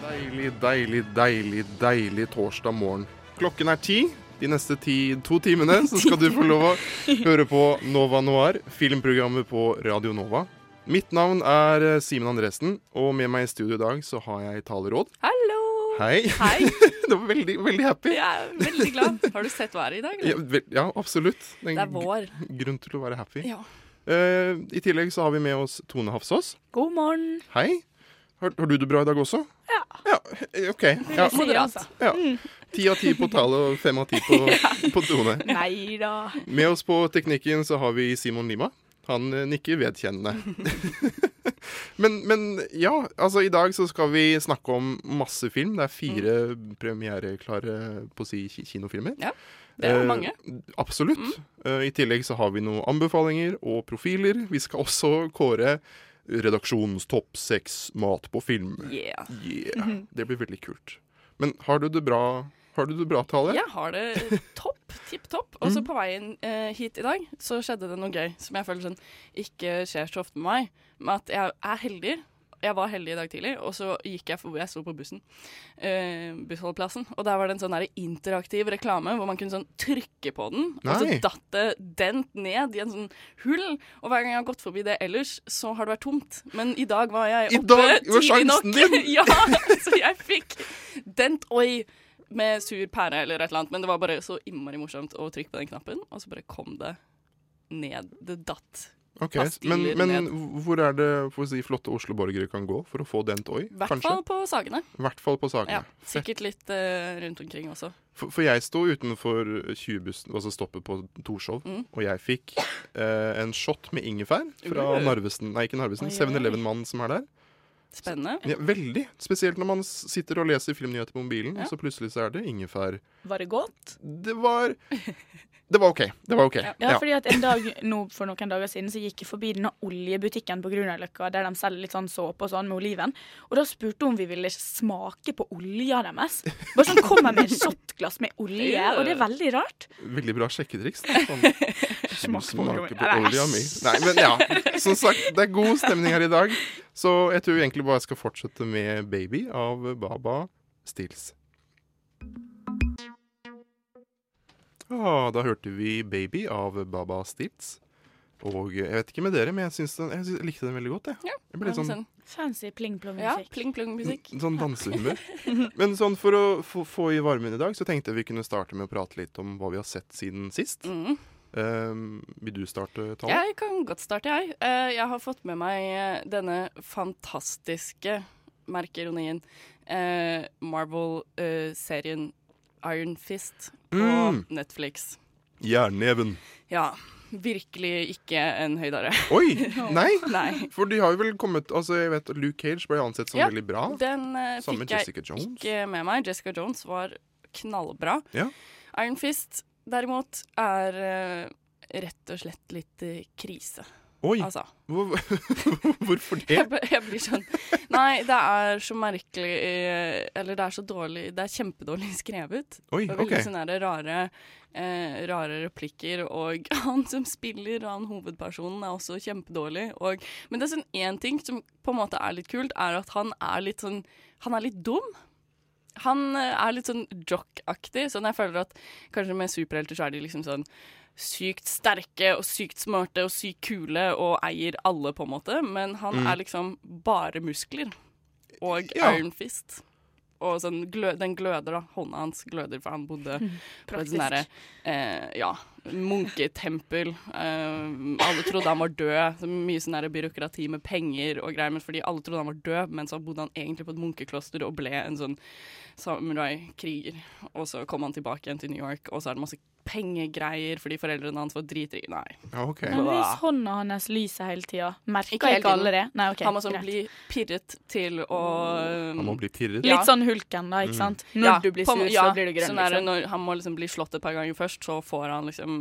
Deilig, deilig, deilig, deilig torsdag morgen. Klokken er ti. De neste ti, to timene så skal du få lov å høre på Nova Noir, filmprogrammet på Radio Nova. Mitt navn er eh, Simen Andresen, og med meg i studio i dag så har jeg Tale Råd. Hallo! Hei. Hei. Du var veldig, veldig happy. Jeg er veldig glad. Har du sett været i dag? Ja, Eller? vel- ja absolutt. Det Det er vår. gr- grunn til å være happy. Ja. Eh, I tillegg så har vi med oss Tone Hafsås. God morgen. Hei. Har, har du det bra i dag også? Ja. ja eh, OK. Ja. Moderat. Ja. Ti av ti på tale og fem av ti på, på tone. Nei da. Med oss på teknikken så har vi Simon Lima. Han eh, nikker vedkjennende. men, men ja, altså i dag så skal vi snakke om masse film. Det er fire premiereklare på å si ki- kinofilmer. Ja, det er Eh, mange. Mm. absolutt. Eh, I tillegg så har vi noen anbefalinger og profiler. Vi skal også kåre redaksjonens topp seks mat på film. Yeah. Mhm. Yeah. Det blir veldig kult. Men har du det bra, har du det bra Tale? Jeg har det topp, tipp topp. Og så på veien eh, hit i dag så skjedde det noe gøy som jeg føler sånn ikke skjer så ofte med meg. Med at jeg er heldig. Jeg var heldig i dag tidlig, og så gikk jeg forbi jeg sto på bussen. Eh, bussholdeplassen. Og der var det en sånn der interaktiv reklame hvor man kunne sånn trykke på den. Og Nei. så datt det dent ned i en sånn hull. Og hver gang jeg har gått forbi det ellers, så har det vært tomt. Men i dag var jeg I oppe dag var tidlig nok. sjansen din! ja, så jeg fikk dent oi med sur pære eller et eller annet. Men det var bare så innmari morsomt å trykke på den knappen, og så bare kom det ned. Det datt. Ok, Pastiller Men, men ned. hvor er det får vi si, flotte Oslo-borgere kan gå for å få den toy? I hvert fall på Sagene. I hvert fall på Ja, Sagene. Fett. sikkert litt eh, rundt omkring også. for, for jeg sto utenfor 20-bussen, altså stoppet på Torshov, Mm. og jeg fikk eh, en shot med ingefær fra Uh. Narvesen, nei ikke Narvesen, Oi, oi, oi. 7-Eleven-mannen som er der. Spennende. Ja, veldig. Spesielt når man s- sitter og leser filmnyheter på mobilen, Ja. og så plutselig så er det ingefær. Var det godt? Det var Det var OK. Det var OK. Ja, fordi at en dag nå for noen dager siden så gikk jeg forbi denne oljebutikken på Grünerløkka, der de selger litt sånn såpe og sånn med oliven. Og da spurte hun om vi ville smake på olja deres. Bare sånn kommer med et shotglass med olje, og det er veldig rart. Veldig bra sjekketriks. da. Sånn, Smak på smaker olja. på olja mi. Nei, men ja. Som sagt, det er god stemning her i dag. Så jeg tror egentlig bare jeg skal fortsette med 'Baby' av Baba Stills. Ja, Ah, da hørte vi 'Baby' av Baba Stills. Og jeg vet ikke med dere, men jeg, syns den, jeg, syns, jeg likte den veldig godt. Jeg, jeg ble litt sånn Sånn, Fancy ja, pling-plong-musikk. pling-plong-musikk. Sånn dansehumør. Men sånn for å få, få i varmen i dag, så tenkte jeg vi kunne starte med å prate litt om hva vi har sett siden sist. Mm. Um, vil du starte, Tale? Jeg kan godt starte, jeg. Eh, Jeg har fått med meg eh, denne fantastiske merkeironien. eh, Marvel-serien eh, Iron Fist på Mm. Netflix. Jernneven. Ja, virkelig ikke en høydare. Oi! Nei! Nei. For de har jo vel kommet Altså, jeg vet Luke Cage ble ansett som Ja, veldig bra. Den eh, Sammen med fikk jeg Jessica Jones. ikke med meg. Jessica Jones var knallbra. Ja. Iron Fist derimot er eh, rett og slett litt eh, krise, Oi! altså. Hvor, hvorfor det? Jeg, ble- jeg blir sånn Nei, det er så merkelig eh, Eller det er så dårlig Det er kjempedårlig skrevet. Oi, Det er OK. veldig sånne der rare, eh, rare replikker, og han som spiller han hovedpersonen, er også kjempedårlig. Og, men det er sånn én ting som på en måte er litt kult, er at han er litt sånn Han er litt dum. Han eh, er litt sånn jock-aktig, sånn jeg føler at kanskje med superhelter så er de liksom sånn sykt sterke og sykt smarte og sykt kule og eier alle, på en måte, men han Mm. er liksom bare muskler og Ja. Iron Fist. Og sånn glø, den gløder, da. Hånda hans gløder, for han bodde på et sånn derre Mm. Praktisk. eh, Ja, munketempel. Eh, alle trodde han var død. Så mye sånn derre byråkrati med penger og greier. Men fordi alle trodde han var død, men så bodde han egentlig på et munkekloster og ble en sånn samurai-kriger. Og så kom han tilbake igjen til New York, og så er det masse pengegreier fordi foreldrene hans var dritri... Nei. Ja, ok. Mm. Men hvis hånda hans lyser hele tida, merker Ikke hele ikke alle det? tiden. Nei, ok, han må sånn greit. bli pirret til å Han må bli pirret. Ja. Litt sånn hulken, Mm. da, ikke sant? Når Ja, du blir på- sur, ja, så blir du grønn. Sånn er det liksom. når han må liksom bli slått et par ganger først, så får han liksom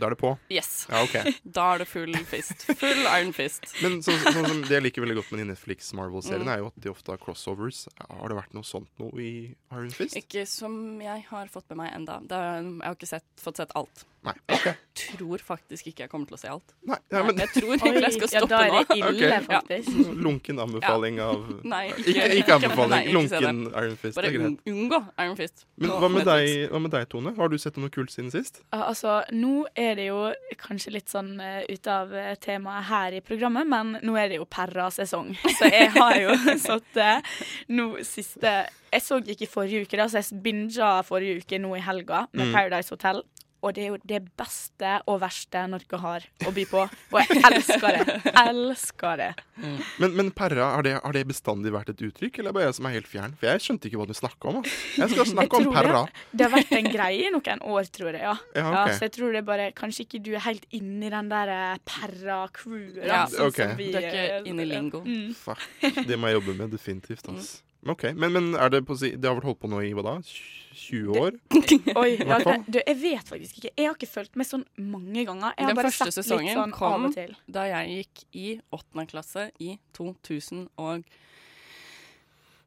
Da er det på. Yes. Ja, ok. Da er det full fist. Full iron fist. Men så, sånn som det jeg liker veldig godt med de Netflix Marvel-seriene, Mm. er jo at de ofte har crossovers. Har det vært noe sånt noe i Iron Fist? Ikke som jeg har fått med meg enda. Det er, jeg har ikke sett, fått sett alt. Nei. ok. Tror faktisk ikke jeg kommer til å se alt. Nei, ja, men Jeg tror egentlig jeg skal ja, stoppe da er det nå. ille, Ok. faktisk. Lunken anbefaling av Nei, ikke, Ikke, ikke anbefaling. nei, ikke se det. Lunken Iron Fist. Det Bare er greit. un- unngå Iron Fist. Men på hva med, Netflix. deg, hva med deg, Tone? Har du sett noe kult siden sist? Ja, Altså, nå er det jo kanskje litt sånn eh, ut av eh, temaet her i programmet, men nå er det jo perra-sesong. Så jeg har jo satt uh, nå siste Jeg så ikke i forrige uke, da, så jeg binga forrige uke nå i helga med Paradise Hotel. Og det er jo det beste og verste Norge har å by på. Og jeg elsker det. Elsker det. Men, men perra, har det, har det bestandig vært et uttrykk, eller er det bare jeg som er helt fjern? For jeg skjønte ikke hva du snakka om. ass. Jeg skal snakke om tror perra. Det, det har vært en greie i noen år, tror jeg. Ja. Ja, ok. så jeg tror det er bare Kanskje ikke du er helt inni den der eh, perra-crewet. da, Ja, sånn ok. som vi, Du er ikke eh, inne i lingo. Fuck. Det må jeg jobbe med, definitivt. ass. Mm. Men Ok, Men, men er det, på, å si- det har vært holdt på nå i hva da? 20 år? Oi, ja, Hvertfall. du, jeg vet faktisk ikke. Jeg har ikke fulgt med sånn mange ganger. Jeg har Den bare første sett litt sesongen sånn av kom og til. da jeg gikk i åttende klasse i 2000 og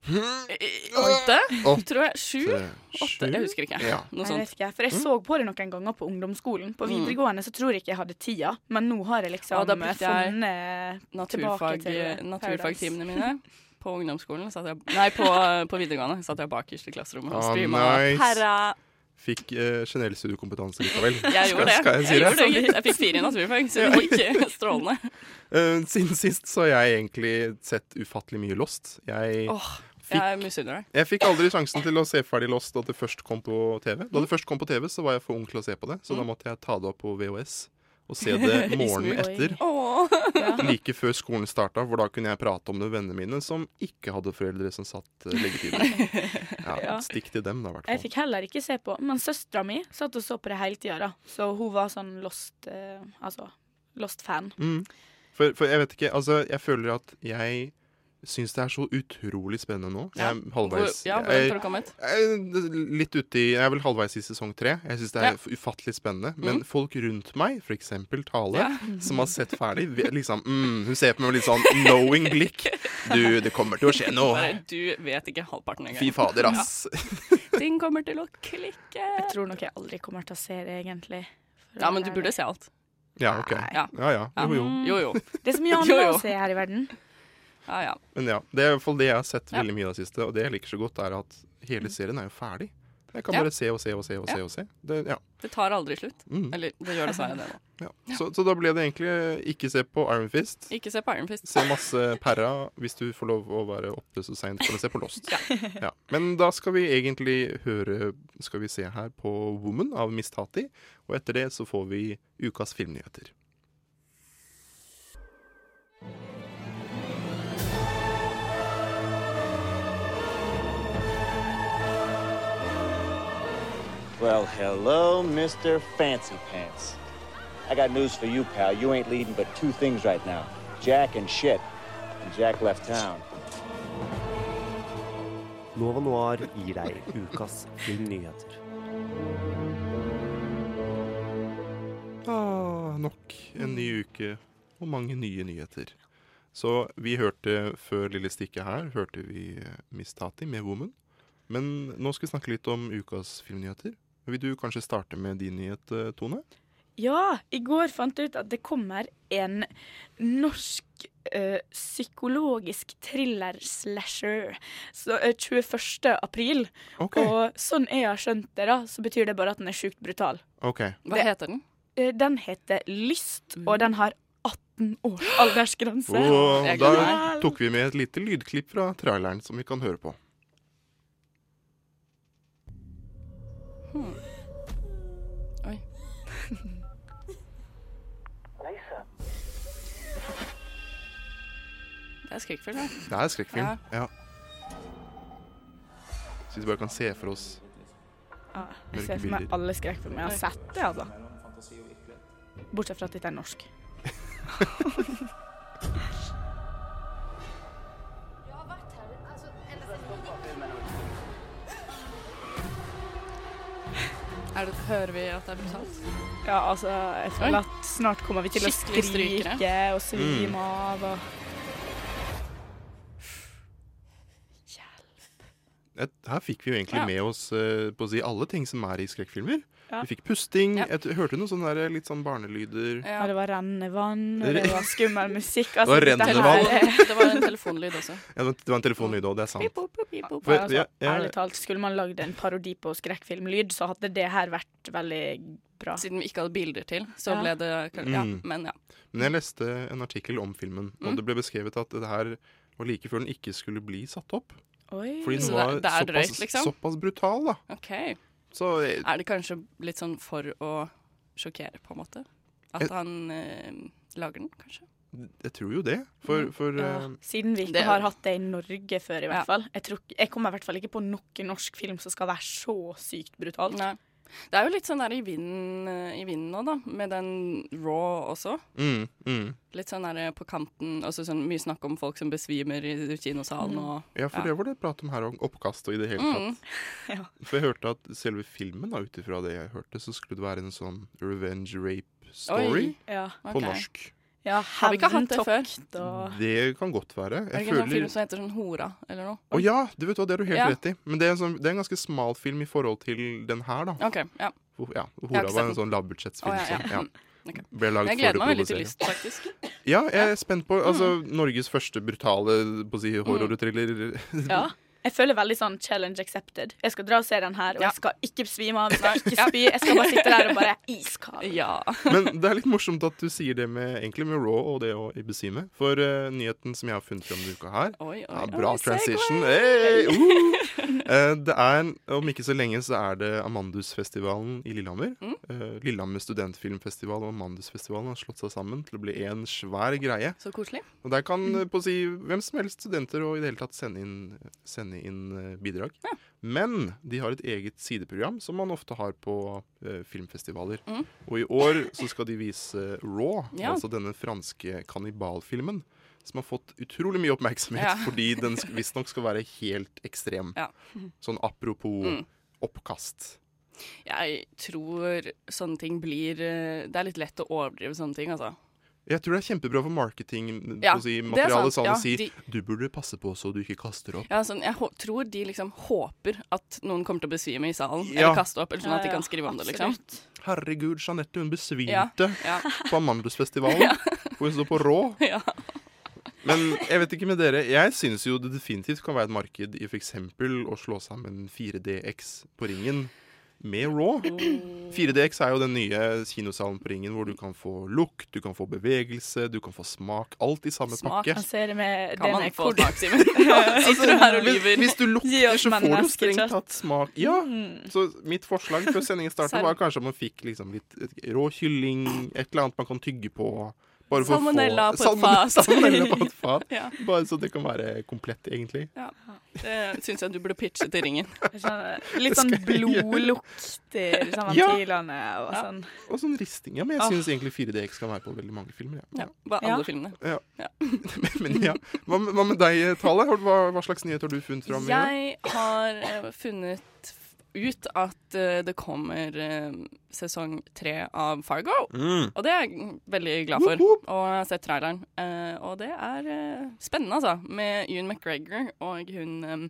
Eh, Åtte? Hmm. Åtte, Tror jeg. Sju? sju? Åtte? Jeg husker ikke. Ja. Noe Jeg sånt. vet ikke, for jeg Mm. så på det noen ganger på ungdomsskolen. På videregående så tror jeg ikke jeg hadde tida, men nå har jeg liksom Og da brukte jeg funnet tilbake naturfag, eh, til Paradise. naturfagtimene mine. På ungdomsskolen satt jeg Nei, på, eh, på videregående satt jeg bakerst i klasserommet og Ah, streama. nice. Herre. Fikk eh, generell studiekompetanse likevel. Jeg gjorde det. Skal, skal jeg si jeg, det? gjorde det. jeg fikk fire i naturfag, så det gikk strålende. Eh, siden sist så har jeg egentlig sett ufattelig mye Lost. Jeg, Åh, Fikk- Jeg misunner deg. jeg fikk aldri sjansen til å se ferdig Lost da det først kom på TV. Da det først kom på TV, så var jeg for ung til å se på det, så da Mm. måtte jeg ta det opp på VHS og se det morgenen smug. etter. Like før skolen starta, hvor da kunne jeg prate om det med vennene mine som ikke hadde foreldre som satt eh, leggetiden. Ja, Ja. stikk til dem, da, i hvert Jeg fall. fikk heller ikke se på, men søstera mi satt og så på det hele tida, da. Så hun var sånn lost eh, Altså lost-fan. Mm. For, for jeg vet ikke, altså jeg føler at jeg syns det er så utrolig spennende nå. Jeg er Hvor, halvveis. ja, hvor jeg- har du kommet? Jeg er Litt uti Jeg er vel halvveis i sesong tre. Jeg syns det er Ja. Mm. f- ufattelig spennende. Men folk rundt meg, f.eks. Tale, Ja. som har sett ferdig, vi- liksom mm, Hun ser på meg med litt sånn knowing blikk. Du, det kommer til å skje noe. Bare, du vet ikke halvparten Fy engang. fader, ass. Ting kommer til å klikke. Jeg tror nok jeg aldri kommer til å se det, egentlig. For å Ja, men du være burde ærlig. Mm. se alt. Ja, OK. Ja. Ja ja. Jo, jo. Jo, jo. Det er så mye Jo, annet jo. å se her i verden. Ja, ja. Men ja. Det er i hvert fall det jeg har sett Ja. veldig mye i det siste, og det jeg liker så godt, er at hele serien er jo ferdig. Jeg kan Ja. bare se og se og se og se. og se det, ja. Det tar aldri slutt. Mm. Eller det gjør dessverre det, da. Ja. Så, så da ble det egentlig ikke se på Iron Fist. Ikke se på Iron Fist. Se masse perra hvis du får lov å være oppe så seint for å se på Lost. Ja. Men da skal vi egentlig høre Skal vi se her på Woman av Miss Tati. Og etter det så får vi ukas filmnyheter. Well, hello, Mr. Fancy Pants. I got news for you, pal. You ain't leading but two things right now Jack and shit. And Jack left town. Nova Noir gir deg ukas filmnyheter. Ah, nok en ny uke og mange nye nyheter. Så vi hørte før lille stikket her, hørte vi eh, Miss Tati med Woman. Men nå skal vi snakke litt om ukas filmnyheter. Vil du kanskje starte med din nyhet, eh, Tone? Ja, i går fant jeg ut at det kommer en norsk eh, psykologisk thriller-slasher så, eh, 21. april. OK. Og sånn jeg har skjønt det, da, så betyr det bare at den er sjukt brutal. ok. Hva Det- heter den? Eh, den heter Lyst, og den har 18 års aldersgrense. Og Jeg da gleder tok vi med et lite lydklipp fra traileren som vi kan høre på. Oi. Det er skrekkfullt, det. Det er skrekkfilm. Ja. Ja. Så vi bare kan se for oss Ja, jeg ser for meg bilder. alle skrekkfilmer jeg har sett det, altså. Bortsett fra at dette er norsk. Er det, hører vi at det er brutalt? Ja, altså, jeg føler at snart kommer vi til å Skikkelig strykere. skrike og Mm. svime av og Et, her fikk vi jo egentlig Ja. med oss eh, på å si alle ting som er i skrekkfilmer. Ja. Vi fikk pusting, Ja. jeg t- hørte noen sånne der, litt sånn barnelyder. Ja, det var rennende vann, og det Det- var skummel musikk. Altså, var dette rennende her vann. er- Det var en telefonlyd også. Ja, det var en telefonlyd òg, det er sant. For- Ja, altså, ja, ja. Ærlig talt, skulle man lagd en parodi på skrekkfilmlyd, så hadde det her vært veldig bra. Siden vi ikke hadde bilder til, så Ja. ble det Ja, Mm. men ja. Men jeg leste en artikkel om filmen, Mm. og det ble beskrevet at det her var like før den ikke skulle bli satt opp. Oi. Fordi den Mm. Så var det- det er såpass, drøyt, liksom? såpass brutal, da. OK. Så eh, Er det kanskje litt sånn for å sjokkere, på en måte? At Jeg- han eh, lager den, kanskje? jeg tror jo det. Mm. For, for Ja, eh, Siden vi ikke Ehm, Det- har hatt det i Norge før, i hvert Ja. fall. Jeg, tror, ikke- jeg kommer i hvert fall ikke på noen norsk film som skal være så sykt brutal. Nei. Det er jo litt sånn der i vinden, eh, i vinden nå, da. Med den raw også. mm, mm. Litt sånn der på kanten. Også sånn mye snakk om folk som besvimer i Mm. kinosalen og Ja, for det var det prat om her om oppkast og i det hele tatt. mm. For jeg hørte at selve filmen, da, ut ifra det jeg hørte, så skulle det være en sånn revenge rape story Oi, Ja, på ok. norsk. ja Har vi ikke hatt det før? hevntokt og Det kan godt være. Er det Jeg ikke en sånn føler film som heter sånn Hora eller noe? Å ja, du vet hva, det har du helt Ja. rett i. Men det er, en sånn, det er en ganske smal film i forhold til den her, da. OK. Ja. Hvor- Ja, har Hora ikke var sett en sånn lavbudsjettsfilm. Å, ja, som- ja. ja. Ok. Ble laget Jeg for gleder å meg veldig til provosere. lyst, Mm. faktisk. Ja, jeg er spent på altså, Norges første brutale eh, på å Mm. si, horrorthriller. Ja. Jeg føler veldig sånn challenge accepted. Jeg skal dra og se den her, og Ja. jeg skal ikke svime av, jeg skal ikke spy. Jeg skal bare sitte der og bare iskald. Ja. Men det er litt morsomt at du sier det med, egentlig med Raw og det å besvime. For eh, nyheten som jeg har funnet fram denne uka her, Oi, oi. Ja, oi, bra segway. transition. Hey, uh. Eh, Det er, en- Om ikke så lenge så er det Amandusfestivalen i Lillehammer. Mm. Eh, Lillehammer studentfilmfestival og Amandusfestivalen har slått seg sammen til å bli en svær greie. Så koselig. Og Der kan Mm. eh, på å si hvem som helst studenter og i det hele tatt sende inn, sende inn eh, bidrag. Men de har et eget sideprogram som man ofte har på eh, filmfestivaler. Og i år så skal de vise Raw, Mm. Ja. altså denne franske kannibalfilmen. Som har fått utrolig mye oppmerksomhet Ja. fordi den sk- visstnok skal være helt ekstrem. Ja. Mm. Sånn apropos oppkast. Jeg tror sånne ting blir eh, Det er litt lett å overdrive sånne ting, altså. Jeg tror det er kjempebra for marketing Ja, på å si, det er materialet sant. sånn å Ja, si de- 'du burde passe på så du ikke kaster opp'. Ja, sånn, jeg hå tror de liksom håper at noen kommer til å besvime i salen, Ja. eller kaste opp, eller sånn at de kan skrive om det, liksom. Absolutt. Herregud, Jeanette, hun besvimte Ja, ja. på Amandusfestivalen. Hvor hun står på rå. Ja. Men jeg vet ikke med dere. Jeg syns jo det definitivt kan være et marked i f.eks. å slå sammen 4DX på Ringen med Raw. 4DX er jo den nye kinosalen på Ringen hvor du kan få lukt, du kan få bevegelse, du kan få smak. Alt i samme Smak, altså. pakke. Han ser det med Kan det man med få kod- smak, Simen? Sitter du her og lyver? Altså, Hvis du Gi lukter, oss så får du menneskekjøtt. strengt tatt Mm. smak. Ja, Så mitt forslag før sendingen startet, Serr. var kanskje at man fikk liksom litt rå kylling, et eller annet man kan tygge på. Bare for å få- Salmonella på et Salmone- fat. Salmonella på et fat. Ja. Bare så det kan være komplett, egentlig. Ja. Det syns jeg du burde pitche til Ringen. Sånn, Litt sånn blodlukter, sånn Ja. ventilene og sånn. Og sånn risting. Ja, men jeg Ah. syns egentlig 4DX kan være på veldig mange filmer. Ja. Ja, bare alle Ja. filmene. Ja. Ja. Men ja, Hva med, hva med deg, Tale? Har du- Hva, hva slags nyhet har du funnet fram? i år? Jeg har eh, funnet f- ut at eh, det kommer eh, sesong tre av Fargo. Og det er jeg veldig glad for. Mm. Woop Og jeg har sett traileren. Eh, og det er eh, spennende, altså. Med Ewan McGregor og hun eh,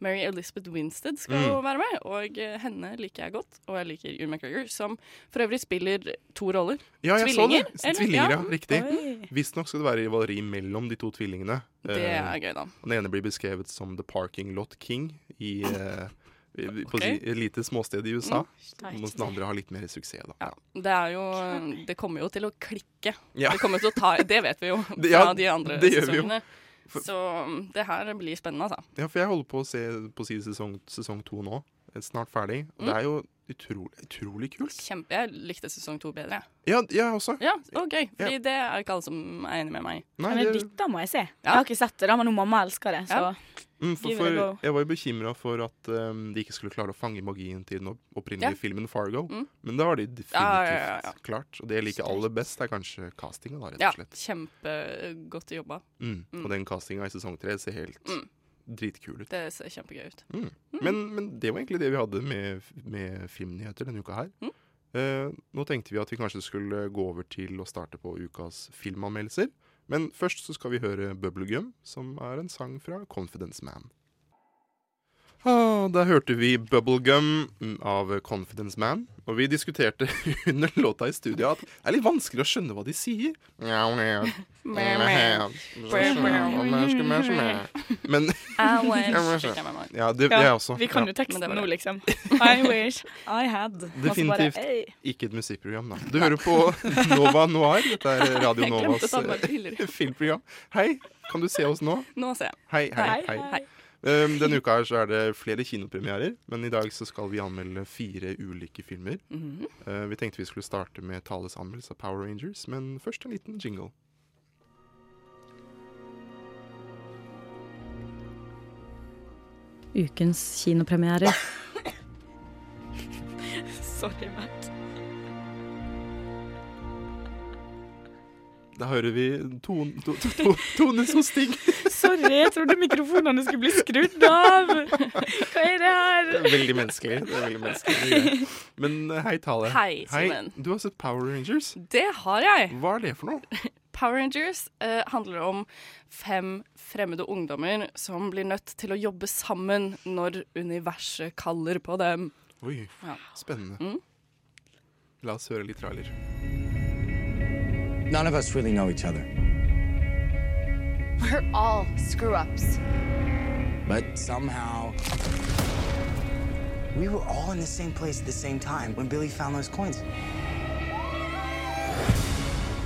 Mary Elizabeth Winstead skal Mm. jo være med. Og eh, henne liker jeg godt. Og jeg liker Ewan McGregor, som for øvrig spiller to roller. Ja, jeg Tvillinger, Så det. eller? Tvillinger, ja. Ja. Riktig. Visstnok skal det være rivaleri mellom de to tvillingene. Det Eh, er gøy, da. Den ene blir beskrevet som The Parking Lot King i, eh, i- på Ok. Mm. si- et lite småsted i USA. Mens den andre har litt mer suksess, da. Ja, det er jo Det kommer jo til å klikke. Ja. Det kommer til å ta Det vet vi jo fra Det- ja, de andre det gjør vi jo. sesongene. Så mm, det her blir spennende, altså. Mm. Ja, for jeg holder på å se på si sesong, sesong to nå. Eh, Snart ferdig. Og det er jo Utrolig, utrolig kult. Kjempe, jeg likte sesong to bedre. Ja, jeg også. Ja, OK. Fordi det er ikke alle som er enig med meg. Nei, Men det, dette må jeg se. Jeg har ikke sett det, da, men hun mamma elsker det. Så Ja. mm, for, give it a for, go. jeg var jo bekymra for at eh, de ikke skulle klare å fange magien til den opp- opprinnelige Ja. filmen Fargo. Mm. Men det har de definitivt Ja, ja, ja, ja. klart. Og det jeg liker aller best, er kanskje castinga, da, rett Ja, og slett. kjempegodt jobba. Mm. Mm. Og den castinga i sesong tre ser helt Mm. dritkul ut. Det ser kjempegøy ut. Mm. Men, men det var egentlig det vi hadde med, med filmnyheter denne uka her. Mm. Eh, nå tenkte vi at vi kanskje skulle gå over til å starte på ukas filmanmeldelser. Men først så skal vi høre Bubblegum, som er en sang fra Confidence Man. Ah, der hørte vi Bubblegum av Confidence Man. Og vi diskuterte under låta i studio at det er litt vanskelig å skjønne hva de sier. Men I men- wish. Fikk jeg med meg. Ja, det, Ja, jeg også. Vi kan ja. jo teksten Men det var nå, det. liksom. I wish I had. Og så Definitivt. Bare, «Ei». Ikke et musikkprogram, da. Du hører på Nova Noir. Dette er Radio Jeg glemte å Novas ta med meg eh, briller. filmprogram. Hei, kan du se oss nå? Nå ser jeg. Hei, hei, Hei, hei. hei. Um, denne uka her så er det flere kinopremierer, men i dag så skal vi anmelde fire ulike filmer. Mhm. Eh, vi tenkte vi skulle starte med Tales anmeldelse av Power Rangers, men først en liten jingle. Ukens kinopremierer. Sorry, Matt. Da hører vi Tone, to, to, to, tone som sting. Sorry, jeg trodde mikrofonene skulle bli skrudd av. Hva er det her? Det er Veldig menneskelig. Det er veldig menneskelig. det gjør jeg. Men eh, hei, Tale. Hei, Simen. Du har sett Power Rangers. Det har jeg! Hva er det for noe? Power Rangers eh, handler om fem fremmede ungdommer som blir nødt til å jobbe sammen når universet kaller på dem. Oi, Ja. spennende. Mm. La oss høre litt trailer. None of us really know each other, We're all screw ups. but somehow. We were all in the same place at the same time when Billy found those coins.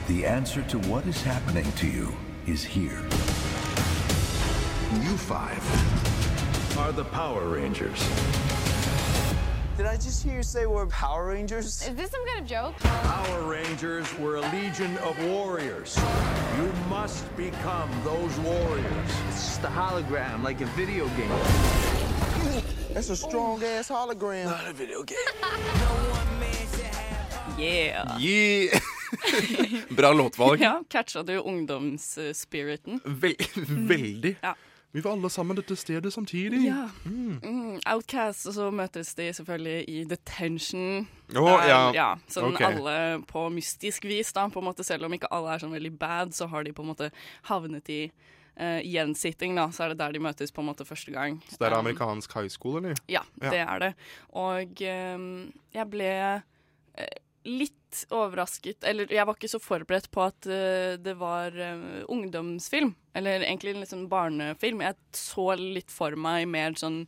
The answer to what is happening to you is here. You five are the Power Rangers. Did I just hear you say we're Power Rangers? Is this some kind of joke? Power Rangers were a legion of warriors. You must become those warriors. It's just a hologram, like a video game. That's a strong ass hologram. Not a video game. Yeah! Yeah! Bra låtvalg. Ja, catcha du ungdomsspiriten? Vel, veldig. Mm. Ja. Vi var alle sammen dette stedet samtidig. Ja. Mm, Outcast, og så møtes de selvfølgelig i detention. Å, Eh, ja. ja, sånn Ok. alle på mystisk vis, da. På en måte, selv om ikke alle er sånn veldig bad, så har de på en måte havnet i eh, gjensitting, da. Så er det der de møtes på en måte første gang. Så det er Um, amerikansk high school, eller? Ja, Ja. det er det. Og ehm, jeg ble eh, litt overrasket Eller jeg var ikke så forberedt på at eh, det var eh, ungdomsfilm. Eller egentlig en litt sånn barnefilm. Jeg så litt for meg mer sånn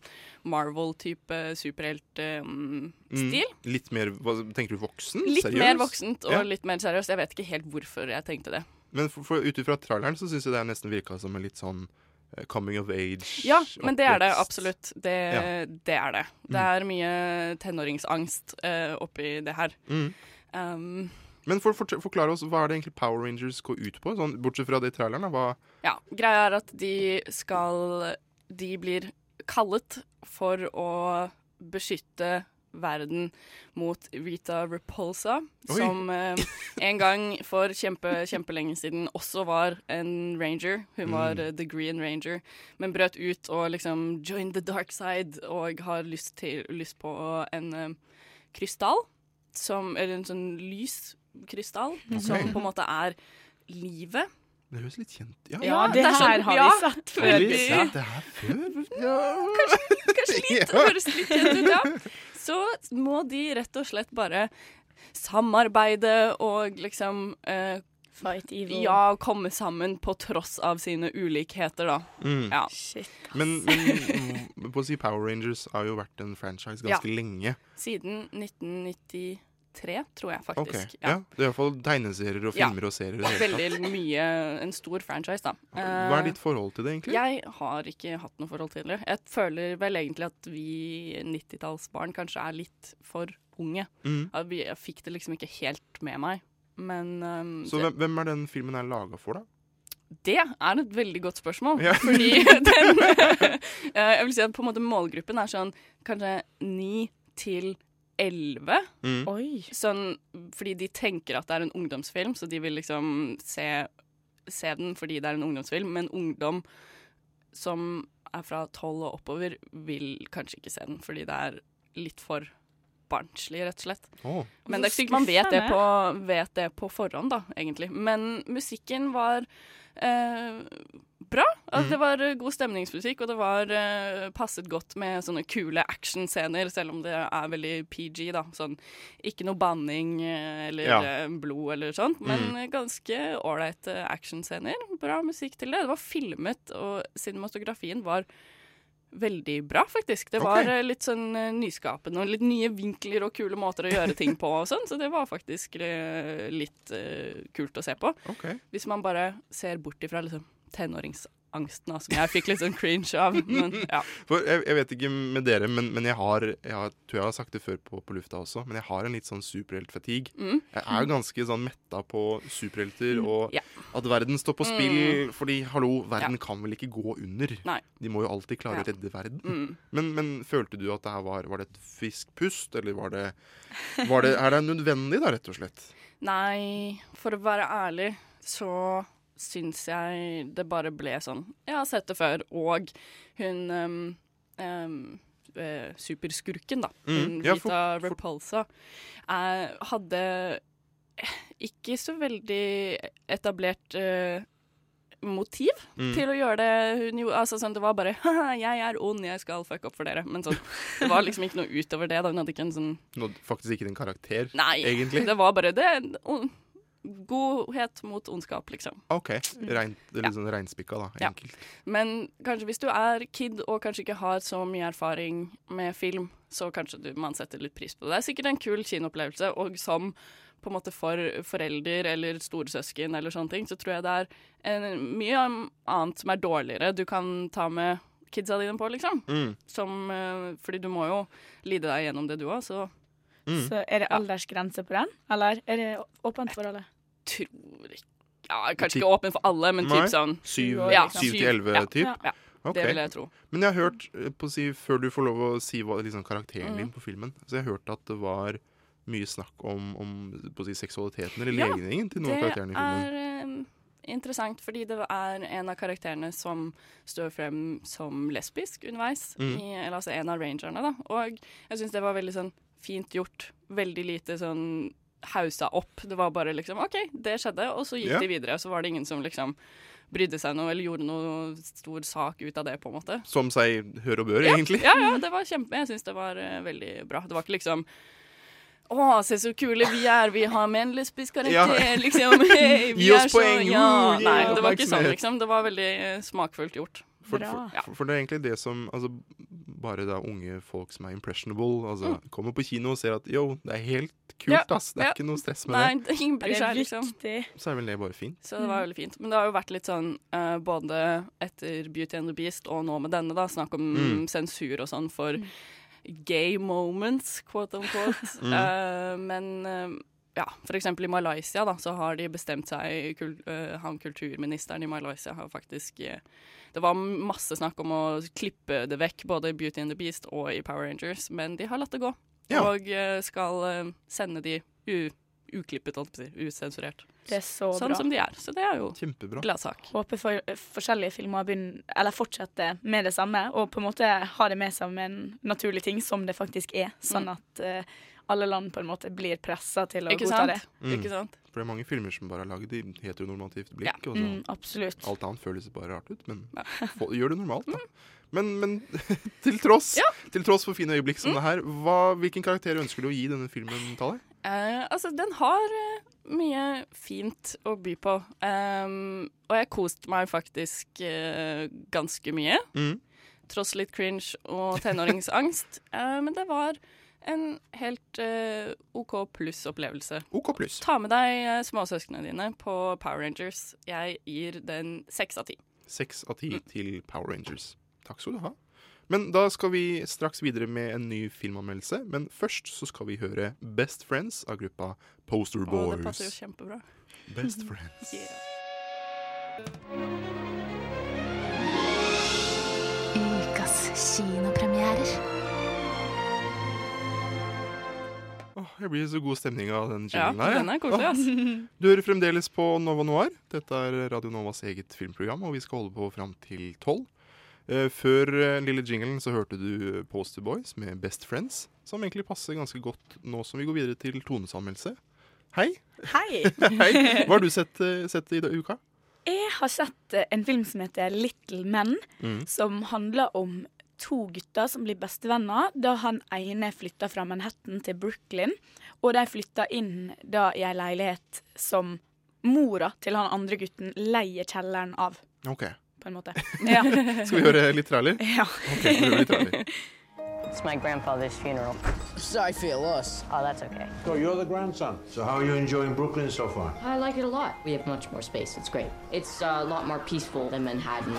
Marvel-type Mm. superheltstil. Litt mer hva, Tenker du voksen? Litt Seriøs? mer voksent og Ja. litt mer seriøst. Jeg vet ikke helt hvorfor jeg tenkte det. Men for, for, ut ifra traileren så syns jeg det er nesten virka som en litt sånn eh, coming of age. Ja, men det er det oppvekst. absolutt. Det, Ja. Mm. det er det. Det er mye tenåringsangst eh, oppi det her. Mm. Um, Men for, for, forklare oss, hva er det egentlig Power Rangers går ut på? Sånn, bortsett fra det i traileren, da. Hva, Ja, greia er at de skal De blir kallet for å beskytte verden mot Rita Repulsa, Oi. som eh, en gang for kjempe, kjempelenge siden også var en ranger. Hun var eh, The Green Ranger, men brøt ut og liksom joined the dark side og har lyst, til, lyst på en eh, krystall, som, eller en sånn lys krystall, som på en måte er livet. det høres litt kjent Ja, Ja, det det er her sånn- har ja. vi sett Har før. vi veldig. sett det her før? Ja. Kanskje litt, det høres litt kjent ut, ja. Så må de rett og slett bare samarbeide og liksom eh, Fight evil. Ja, komme sammen på tross av sine ulikheter, da. Mm. Ja. Shit. Men, men mm, på å si Power Rangers har jo vært en franchise ganske lenge. Siden 1990 tre, tror jeg Ok, faktisk. ja. Det er iallfall tegneserier og Ja. filmer og serier. i det hele tatt. Veldig mye En stor franchise, da. Eh, Hva er ditt forhold til det, egentlig? Jeg har ikke hatt noe forhold til det. Jeg føler vel egentlig at vi 90-tallsbarn kanskje er litt for unge. Mhm. At vi, jeg fikk det liksom ikke helt med meg. Men um, Så det, hvem, hvem er den filmen her laga for, da? det er et veldig godt spørsmål. Ja. Fordi den eh, Jeg vil si at på en måte målgruppen er sånn kanskje 9 til 11. Mm. Sånn, fordi de tenker at det er en ungdomsfilm, så de vil liksom se, se den fordi det er en ungdomsfilm. Men ungdom som er fra 12 og oppover, vil kanskje ikke se den fordi det er litt for barnslig, rett og slett. Åh. Men det er ikke sikkert man vet det, på, vet det på forhånd, da, egentlig. Men musikken var eh, bra. Mm. Altså, Det var eh, god stemningsmusikk, og det var eh, passet godt med sånne kule actionscener, selv om det er veldig PG, da. Sånn ikke noe banning eh, eller Ja. eh, blod eller sånt, men Mm. eh, ganske ålreit eh, actionscener. Bra musikk til det. Det var filmet, og cinematografien var Veldig bra, faktisk. Det var Ok. eh, litt sånn eh, nyskapende og litt nye vinkler og kule måter å gjøre ting på og sånn, så det var faktisk eh, litt eh, kult å se på. Hvis man bare ser bort ifra liksom, tenåringsangsten, da, som jeg fikk litt sånn cringe av. Men ja. For jeg, jeg vet ikke med dere, men, men jeg har Jeg har, tror jeg har sagt det før på, på lufta også, men jeg har en litt sånn superheltfatigue. Mm. Jeg er jo ganske sånn metta på superhelter og Ja. at verden står på spill. Mm. Fordi hallo, verden Ja. kan vel ikke gå under? Nei. De må jo alltid klare å Ja. redde verden. Mm. Men, men følte du at det her var, var det et friskt pust, eller var det, var det Er det nødvendig, da, rett og slett? Nei, for å være ærlig så syns jeg det bare ble sånn. Jeg har sett det før, og hun um, um, eh, superskurken, da, hun Mm, ja, for- Rita Repulsa, eh, hadde ikke så veldig etablert eh, motiv Mm. til å gjøre det hun gjorde. Altså, sånn, det var bare «Haha, 'jeg er ond, jeg skal fucke opp for dere'. Men sånn, det var liksom ikke noe utover det. da Hun hadde ikke en sånn Nå, faktisk ikke en karakter, Nei, egentlig? det var bare det. O- Godhet mot ondskap, liksom. OK. Reint, litt sånn reinspikka, da. Ja. Enkelt. Men kanskje hvis du er kid og kanskje ikke har så mye erfaring med film, så kanskje du, man setter litt pris på det. Det er sikkert en kul kinoopplevelse, og som på en måte for forelder eller storesøsken eller sånne ting, så tror jeg det er eh, mye annet som er dårligere du kan ta med kidsa dine på, liksom. Mm. Som, eh, fordi du må jo lide deg gjennom det du òg, så Mm. Så er det aldersgrense på den, eller er det åpent for alle? tror ikke Ja, kanskje Typ- ikke åpen for alle, men typ Nei, sånn syv- Ja, syv til syv, elleve ja, typ? Ja, Ok. Det vil jeg tro. Men jeg har hørt, eh, på å si, før du får lov å si hva, liksom, karakteren Mhm. din på filmen Så jeg har hørt at det var mye snakk om, om på å si, seksualiteten eller Ja, legningen til noen av karakterene i filmen. Det er eh, interessant, fordi det er en av karakterene som står frem som lesbisk underveis. Mm. I, eller altså en av rangerne, da. Og jeg syns det var veldig sånn fint gjort. Veldig lite sånn hausa opp. Det var bare liksom OK, det skjedde, og så gikk Ja. de videre. Og så var det ingen som liksom brydde seg noe eller gjorde noe stor sak ut av det, på en måte. Som seg hør og bør, ja, egentlig. Ja, ja, det var kjempe Jeg syns det var eh, veldig bra. Det var ikke liksom å, se så kule vi er, vi har med en lesbisk karakter, Ja. liksom. Hei, vi Gi oss er så- poeng, Ja. woo, gi Nei, det var ikke sånn, oppmerksomhet. liksom. Det var veldig eh, smakfullt gjort. For, for, for, for det er egentlig det som altså, Bare da unge folk som er impressionable, altså, kommer på kino og ser at yo, det er helt kult, Mm. Ja, ass. Det er ja. ikke noe stress med Nei, det. det- ingen bryr Det er seg, liksom. Så er vel det bare fint. Så det var veldig fint. Men det har jo vært litt sånn eh, både etter Beauty and the Beast og nå med denne, da, snakk om Mm. sensur og sånn for gay moments, quote on quote. Mm. men eh, ja, for eksempel i Malaysia, da, så har de bestemt seg kul eh, Han kulturministeren i Malaysia har faktisk eh, Det var masse snakk om å klippe det vekk, både i Beauty and the Beast og i Power Rangers, men de har latt det gå. Ja. Og eh, skal eh, sende de u uklippet, holdt jeg på å si. Usensurert. Det er så sånn bra. som de er. Så det er jo Kjempebra. gladsak. Håper for, forskjellige filmer begynner, eller fortsetter med det samme, og på en måte har det med seg som en naturlig ting, som det faktisk er. Sånn at eh, alle land på en måte blir pressa til å Mm. Ikke godta sant? det. Mm. Ikke sant? For det er mange filmer som bare er lagd i heteronormativt blikk. og så- Mm, absolutt. Alt annet føles bare rart ut, men få, gjør det normalt, Mm. da. Men, men til, tross, til tross for fine øyeblikk som Mm. det her, hva, hvilken karakter ønsker du å gi denne filmen, Tale? Eh, altså, den har eh, mye fint å by på. Ehm, og jeg koste meg faktisk eh, ganske mye. Mm. Mhm. Tross litt cringe og tenåringsangst. Eh, men det var en helt eh, OK pluss-opplevelse. OK pluss. Ta med deg eh, småsøsknene dine på Power Rangers. Jeg gir den seks av ti. Seks av ti Mm. til Power Rangers. Takk skal du ha. Men da skal vi straks videre med en ny filmanmeldelse. Men først så skal vi høre Best Friends av gruppa Poster Og Boys. det passer jo kjempebra. Best friends. Ukas kinopremierer. Åh, jeg blir så god stemning av den Ja, jinglen her. jeg. den er koselig, Åh. ass. Du hører fremdeles på Nova Noir. Dette er Radio Novas eget filmprogram, og vi skal holde på fram til tolv. Eh, Før eh, den lille jinglen så hørte du Poster Boys med Best Friends, som egentlig passer ganske godt nå som vi går videre til Tones anmeldelse. Hei. Hei! Hei. Hva har du sett, eh, sett i da- uka? Jeg har sett eh, en film som heter Little Men, Mm. som handler om to gutter som blir bestevenner da han ene flytter fra Manhattan til Brooklyn, og de flytter inn da i ei leilighet som mora til han andre gutten leier kjelleren av, OK. på en måte. Ja. Skal vi høre litt trailer? Ja. Ok, vi hører litt trailer. It's my grandfather's funeral. I feel lost. Oh, that's okay. So you're the grandson. So how are you enjoying Brooklyn so far? I like it a lot. We have much more space. It's great. It's uh, a lot more peaceful than Manhattan.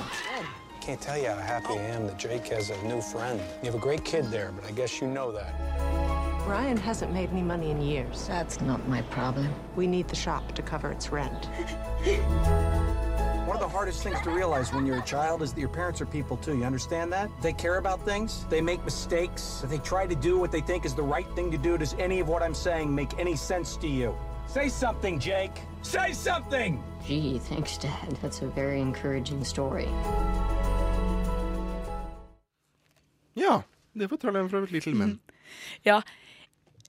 Can't tell you how happy I am that Jake has a new friend. You have a great kid there, but I guess you know that. Ryan hasn't made any money in years. That's not my problem. We need the shop to cover its rent. One of the hardest things to realize when you're a child is that your parents are people too. You understand that? They care about things, they make mistakes, they try to do what they think is the right thing to do. Does any of what I'm saying make any sense to you? Say something, Jake! Say something! Gee, thanks, Dad. That's a very encouraging story. Ja, det var traileren fra Little Men. Ja.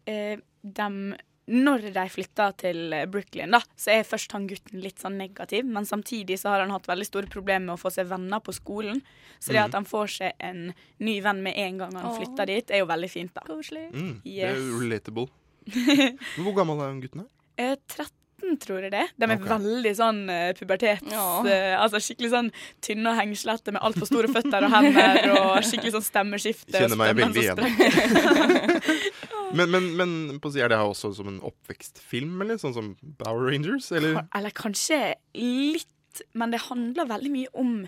Eh, dem- når de flytta til eh, Brooklyn, da, så er først han gutten litt sånn negativ, men samtidig så har han hatt veldig store problemer med å få seg venner på skolen. Så det Mm. Mhm. at han får seg en ny venn med en gang han Åh. flytter dit, er jo veldig fint, da. Koselig. Mm, Det er Yes. relatable. Men Hvor gammel er gutten her? Eh, 13, tror jeg det. De er Ok. veldig sånn eh, pubertets... Ja. Eh, altså skikkelig sånn tynne og hengslete med altfor store føtter og hender og skikkelig sånn stemmeskifte. og Kjenner meg stemmen veldig som igjen. sprekker. Men, men, men på å si, er det her også som en oppvekstfilm, eller? Sånn som Bower Rangers? Eller? Eller kanskje litt, men det handler veldig mye om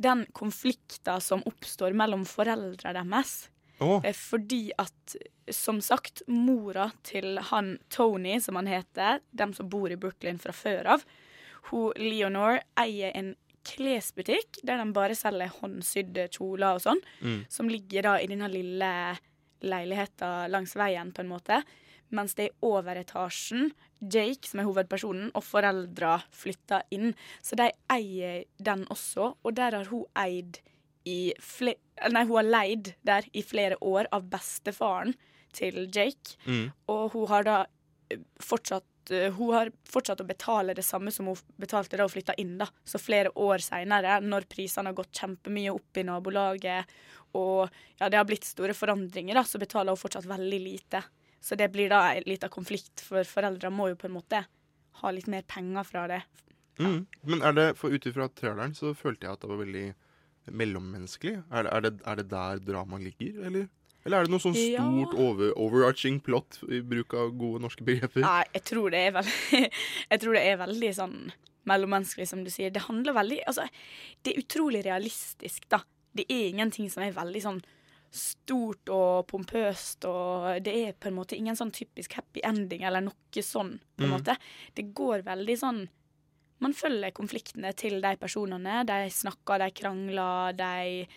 den konflikten som oppstår mellom foreldrene deres. Åh. Eh, Fordi at, som sagt, mora til han Tony, som han heter, dem som bor i Brooklyn fra før av, hun Leonor eier en klesbutikk der de bare selger håndsydde kjoler og sånn, Mm. som ligger da i denne lille leiligheten langs veien, på en måte. Mens det er overetasjen, Jake, som er hovedpersonen, og foreldra flytter inn. Så de eier den også, og der har hun eid i fle- eller Nei, hun har leid der i flere år av bestefaren til Jake. Mm. Og hun har da eh, fortsatt eh, hun har fortsatt å betale det samme som hun f- betalte da hun flytta inn. da. Så flere år seinere, når prisene har gått kjempemye opp i nabolaget, og ja, det har blitt store forandringer, da, så betaler hun fortsatt veldig lite. Så det blir da en liten konflikt, for foreldra må jo på en måte ha litt mer penger fra det. Mm. Men er det, for ut ifra traileren så følte jeg at det var veldig mellommenneskelig. Er det, er det, er det der dramaet ligger, eller? Eller er det noe sånn Ja. stort over, overarching plot i bruk av gode norske begreper? Nei, jeg tror det er veldig Jeg tror det er veldig sånn mellommenneskelig, som du sier. Det handler veldig Altså, det er utrolig realistisk, da. Det er ingenting som er veldig sånn stort og pompøst, og det er på en måte ingen sånn typisk happy ending eller noe sånn, på en Mm. måte. Det går veldig sånn Man følger konfliktene til de personene. De snakker, de krangler, de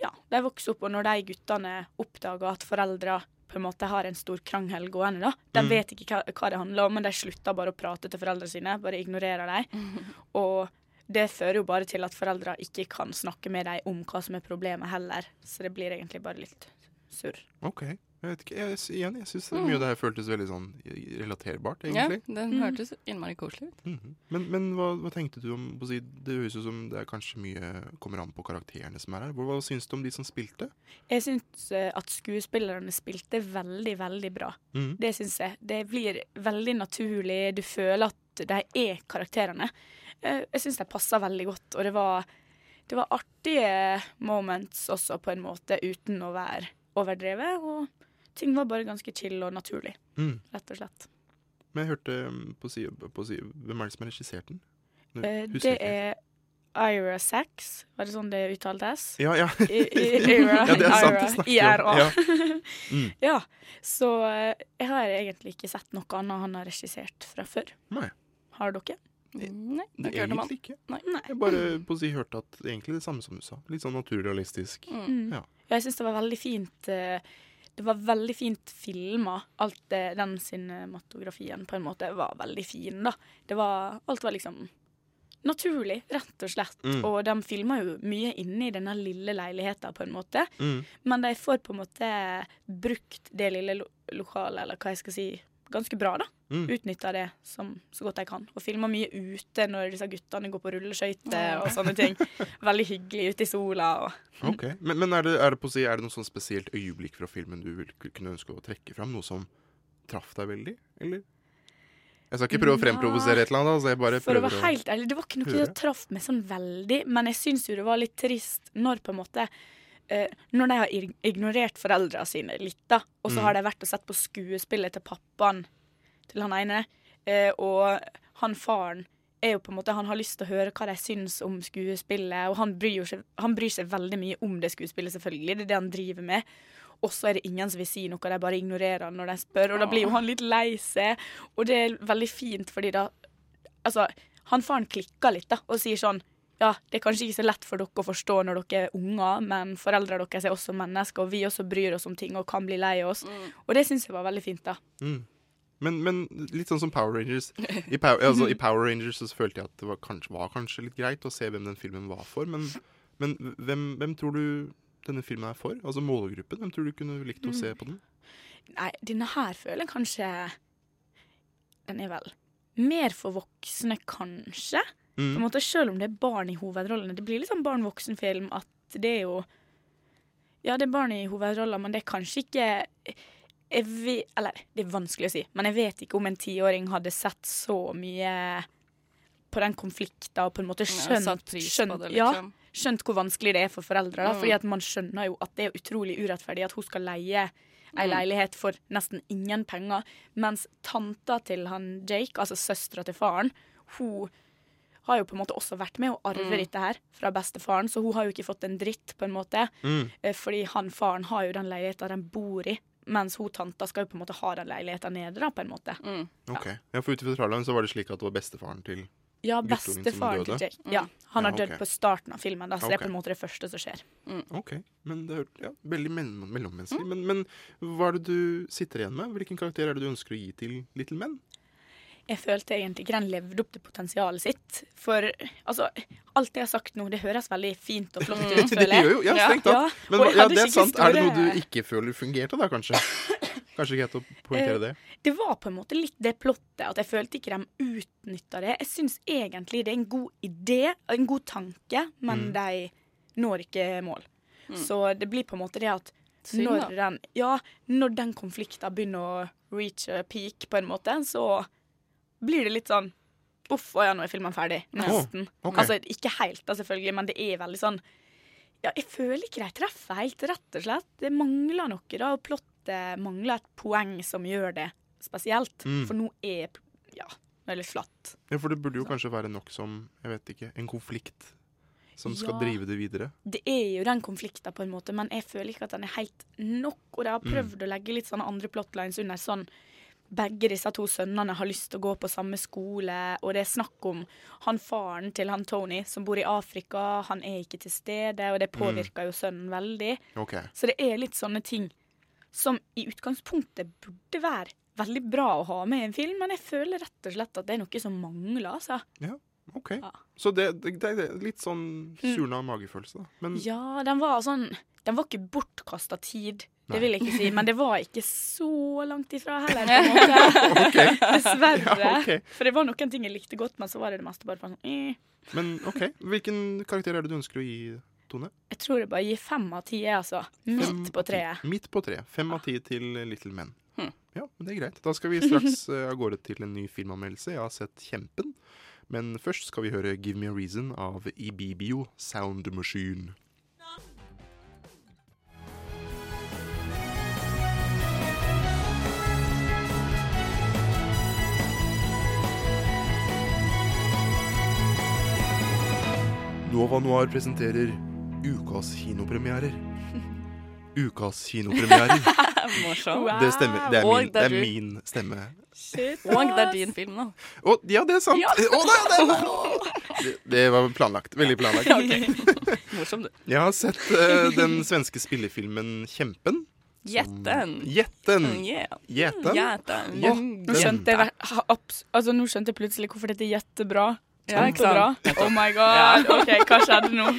ja, de vokser opp, og når de guttene oppdager at foreldre på en måte har en stor krangel gående, da. De Mm. vet ikke hva, hva det handler om, men de slutter bare å prate til foreldrene sine. Bare ignorerer dem. Og det fører jo bare til at foreldre ikke kan snakke med dem om hva som er problemet heller. Så det blir egentlig bare litt surr. Ok. Jeg vet ikke, jeg, s- igjen, jeg syns mye av det her føltes veldig sånn relaterbart, Ja, egentlig. den Mhm. hørtes innmari koselig ut. Mhm. Men, men hva, hva tenkte du om på å si, Det høres ut som det er kanskje mye kommer an på karakterene som er her. Hva, hva syns du om de som spilte? Jeg syns eh, at skuespillerne spilte veldig, veldig bra. Mhm. Det syns jeg. Det blir veldig naturlig. Du føler at de er karakterene. Eh, Jeg syns de passer veldig godt, og det var, det var artige moments også, på en måte, uten å være overdrevet. Og Ting var bare ganske chill og naturlig, Mm. rett og slett. Men jeg hørte um, på si, på si, Hvem er det som har regissert den? Nå Eh, husker det jeg ikke. er Ira Sachs, var det sånn det uttaltes? Ja, ja. I, i, Ira, Ja, det er sant, Ira, det snakker vi IRA. om. Ja. Ja. Mm. Så eh, jeg har egentlig ikke sett noe annet han har regissert fra før. Nei. Har dere? Nei, Eh, Det er egentlig ikke. Jeg bare på å si, hørte at egentlig det samme som du sa. Litt sånn naturrealistisk. Mm. Ja. Jeg syns det var veldig fint eh, Det var veldig fint filma. Alt det, den cinematografien på en måte var veldig fin, da. Det var Alt var liksom naturlig, rett og slett. Mm. Og de filma jo mye inne i denne lille leiligheta, på en måte. Mm. Men de får på en måte brukt det lille lo lokalet, eller hva jeg skal si, ganske bra, da. Mm. Utnytta det som, så godt de kan. Og filma mye ute når disse guttene går på rulleskøyter og sånne ting. Veldig hyggelig ute i sola og Ok, Men, men er, det, er, det på å si, er det noe sånn spesielt øyeblikk fra filmen du vil ku- kunne ønske å trekke fram? Noe som traff deg veldig, eller? Jeg skal ikke prøve å fremprovosere et eller annet. Altså jeg bare For å prøver være helt ærlig, det var ikke noe høre. som traff meg sånn veldig, men jeg syns jo det var litt trist når på en måte eh, Når de har ig- ignorert foreldrene sine litt, da, og så Mm. har de vært og sett på skuespillet til pappaen til han ene, eh, og han faren er jo på en måte, Han har lyst til å høre hva de syns om skuespillet, og han bryr, jo seg, han bryr seg veldig mye om det skuespillet, selvfølgelig. Det er det han driver med. Og så er det ingen som vil si noe, de bare ignorerer han når de spør, og da blir jo han litt lei seg. Og det er veldig fint, fordi da Altså, han faren klikker litt, da, og sier sånn ja, det er kanskje ikke så lett for dere å forstå når dere er unger, men foreldrene deres er også mennesker, og vi også bryr oss om ting og kan bli lei oss. Og det syns jeg var veldig fint, da. Mm. Men, men litt sånn som Power Rangers. I, Pow- altså, I Power Rangers så følte jeg at det var kanskje, var kanskje litt greit å se hvem den filmen var for. Men, men hvem, hvem tror du denne filmen er for? Altså målgruppen? Hvem tror du kunne likt Mm. å se på den? Nei, denne her føler jeg kanskje Den er vel mer for voksne, kanskje. Mm. På en måte, Selv om det er barn i hovedrollene. Det blir litt sånn barn-voksen-film at det er jo Ja, det er barn i hovedroller, men det er kanskje ikke jeg vet, Eller det er vanskelig å si, men jeg vet ikke om en tiåring hadde sett så mye på den konflikten og på en måte Ja, skjønt, satt pris på skjønt, det, ja, liksom. skjønt hvor vanskelig det er for foreldre. Da, Mm. fordi at man skjønner jo at det er utrolig urettferdig at hun skal leie ei Mm. leilighet for nesten ingen penger, mens tanta til han Jake, altså søstera til faren, hun har jo på en måte også vært med å arve Mm. dette her fra bestefaren, så hun har jo ikke fått en dritt, på en måte. Mm. Eh, Fordi han faren har jo den leiligheta de bor i, mens hun tanta skal jo på en måte ha den leiligheta nede, da, på en måte. Ok, ja, for Ut ifra traileren så var det slik at det var bestefaren til Ja, guttungen som bestefaren til døde. Jake. Ja, han har Ja, dødd ok. på starten av filmen, da, så det Ok. er på en måte det første som skjer. Ok, men det er ja, veldig mellom, mellommenneskelig. Men, men hva er det du sitter igjen med? Hvilken karakter er det du ønsker å gi til Little Men? Jeg følte egentlig ikke den levde opp til potensialet sitt. For altså, alt jeg har sagt nå, det høres veldig fint og flott ut, Mm. det føler jeg. gjør jo, ja, strengt Ja, tatt. Men og jeg ja, hadde det er ikke sant. Er det noe store- du ikke føler fungerte da, kanskje? Kanskje greit å poengtere det. Eh, Det var på en måte litt det plottet, at jeg følte ikke de utnytta det. Jeg syns egentlig det er en god idé, en god tanke, men Mm. de når ikke mål. Mm. Så det blir på en måte det at Synd, når da. den, ja, når den konflikten begynner å reach a peak, på en måte, så blir det litt sånn Uff, å ja, nå er filmen ferdig. Nesten. ok. Altså ikke helt, da, selvfølgelig, men det er veldig sånn ja, jeg føler ikke de treffer helt, rett og slett. Det mangler noe, da, og plottet mangler et poeng som gjør det spesielt. Mm. For nå er p- ja, nå er det litt flatt. Ja, for det burde jo kanskje være nok som, jeg vet ikke, en konflikt som skal Ja. drive det videre. Det er jo den konflikten, på en måte, men jeg føler ikke at den er helt nok. Og Mm. de har prøvd å legge litt sånne andre plotlines under sånn begge disse to sønnene har lyst til å gå på samme skole, og det er snakk om han faren til han Tony som bor i Afrika, han er ikke til stede, og det Mm. påvirker jo sønnen veldig. Ok. Så det er litt sånne ting som i utgangspunktet burde være veldig bra å ha med i en film, men jeg føler rett og slett at det er noe som mangler, altså. Ja, ok. Så det, det, det er litt sånn surna magefølelse, da. Men Mm. Ja, den var sånn Den var ikke bortkasta tid, det Nei. vil jeg ikke si, men det var ikke så langt ifra heller, på en måte. Dessverre. Ja, ok. For det var noen ting jeg likte godt, men så var det det meste bare sånn eh. Men ok, hvilken karakter er det du ønsker å gi, Tone? Jeg tror jeg bare gir fem av ti, jeg, altså. Midt på treet. Midt på tre. Fem av ti til Little Men. Hm. Ja, men det er greit. Da skal vi straks eh, av gårde til en ny filmanmeldelse. Jeg har sett Kjempen. Men først skal vi høre Give Me A Reason av Ibibio Sound Machine. Nova Noir presenterer ukas kinopremierer. Ukas kinopremierer. Morsom. Det stemmer. Det er, Ah, Og min, det det er er du. min stemme. Shit. Og det er din film nå. Å, ja, det er sant! Ja. Å, nei, det, det, det var planlagt. Veldig planlagt. Morsom, du. Jeg har sett eh, den svenske spillefilmen Kjempen. Gjetten. Gjetten. Mm, yeah. Gjetten. Gjetten. Gjetten. Nå skjønte jeg, ver- ha- abs- altså, nå skjønte jeg plutselig hvorfor dette er jettebra. Ja, ikke Kjempebra. sant? Oh my god. Ja. OK, hva skjedde nå?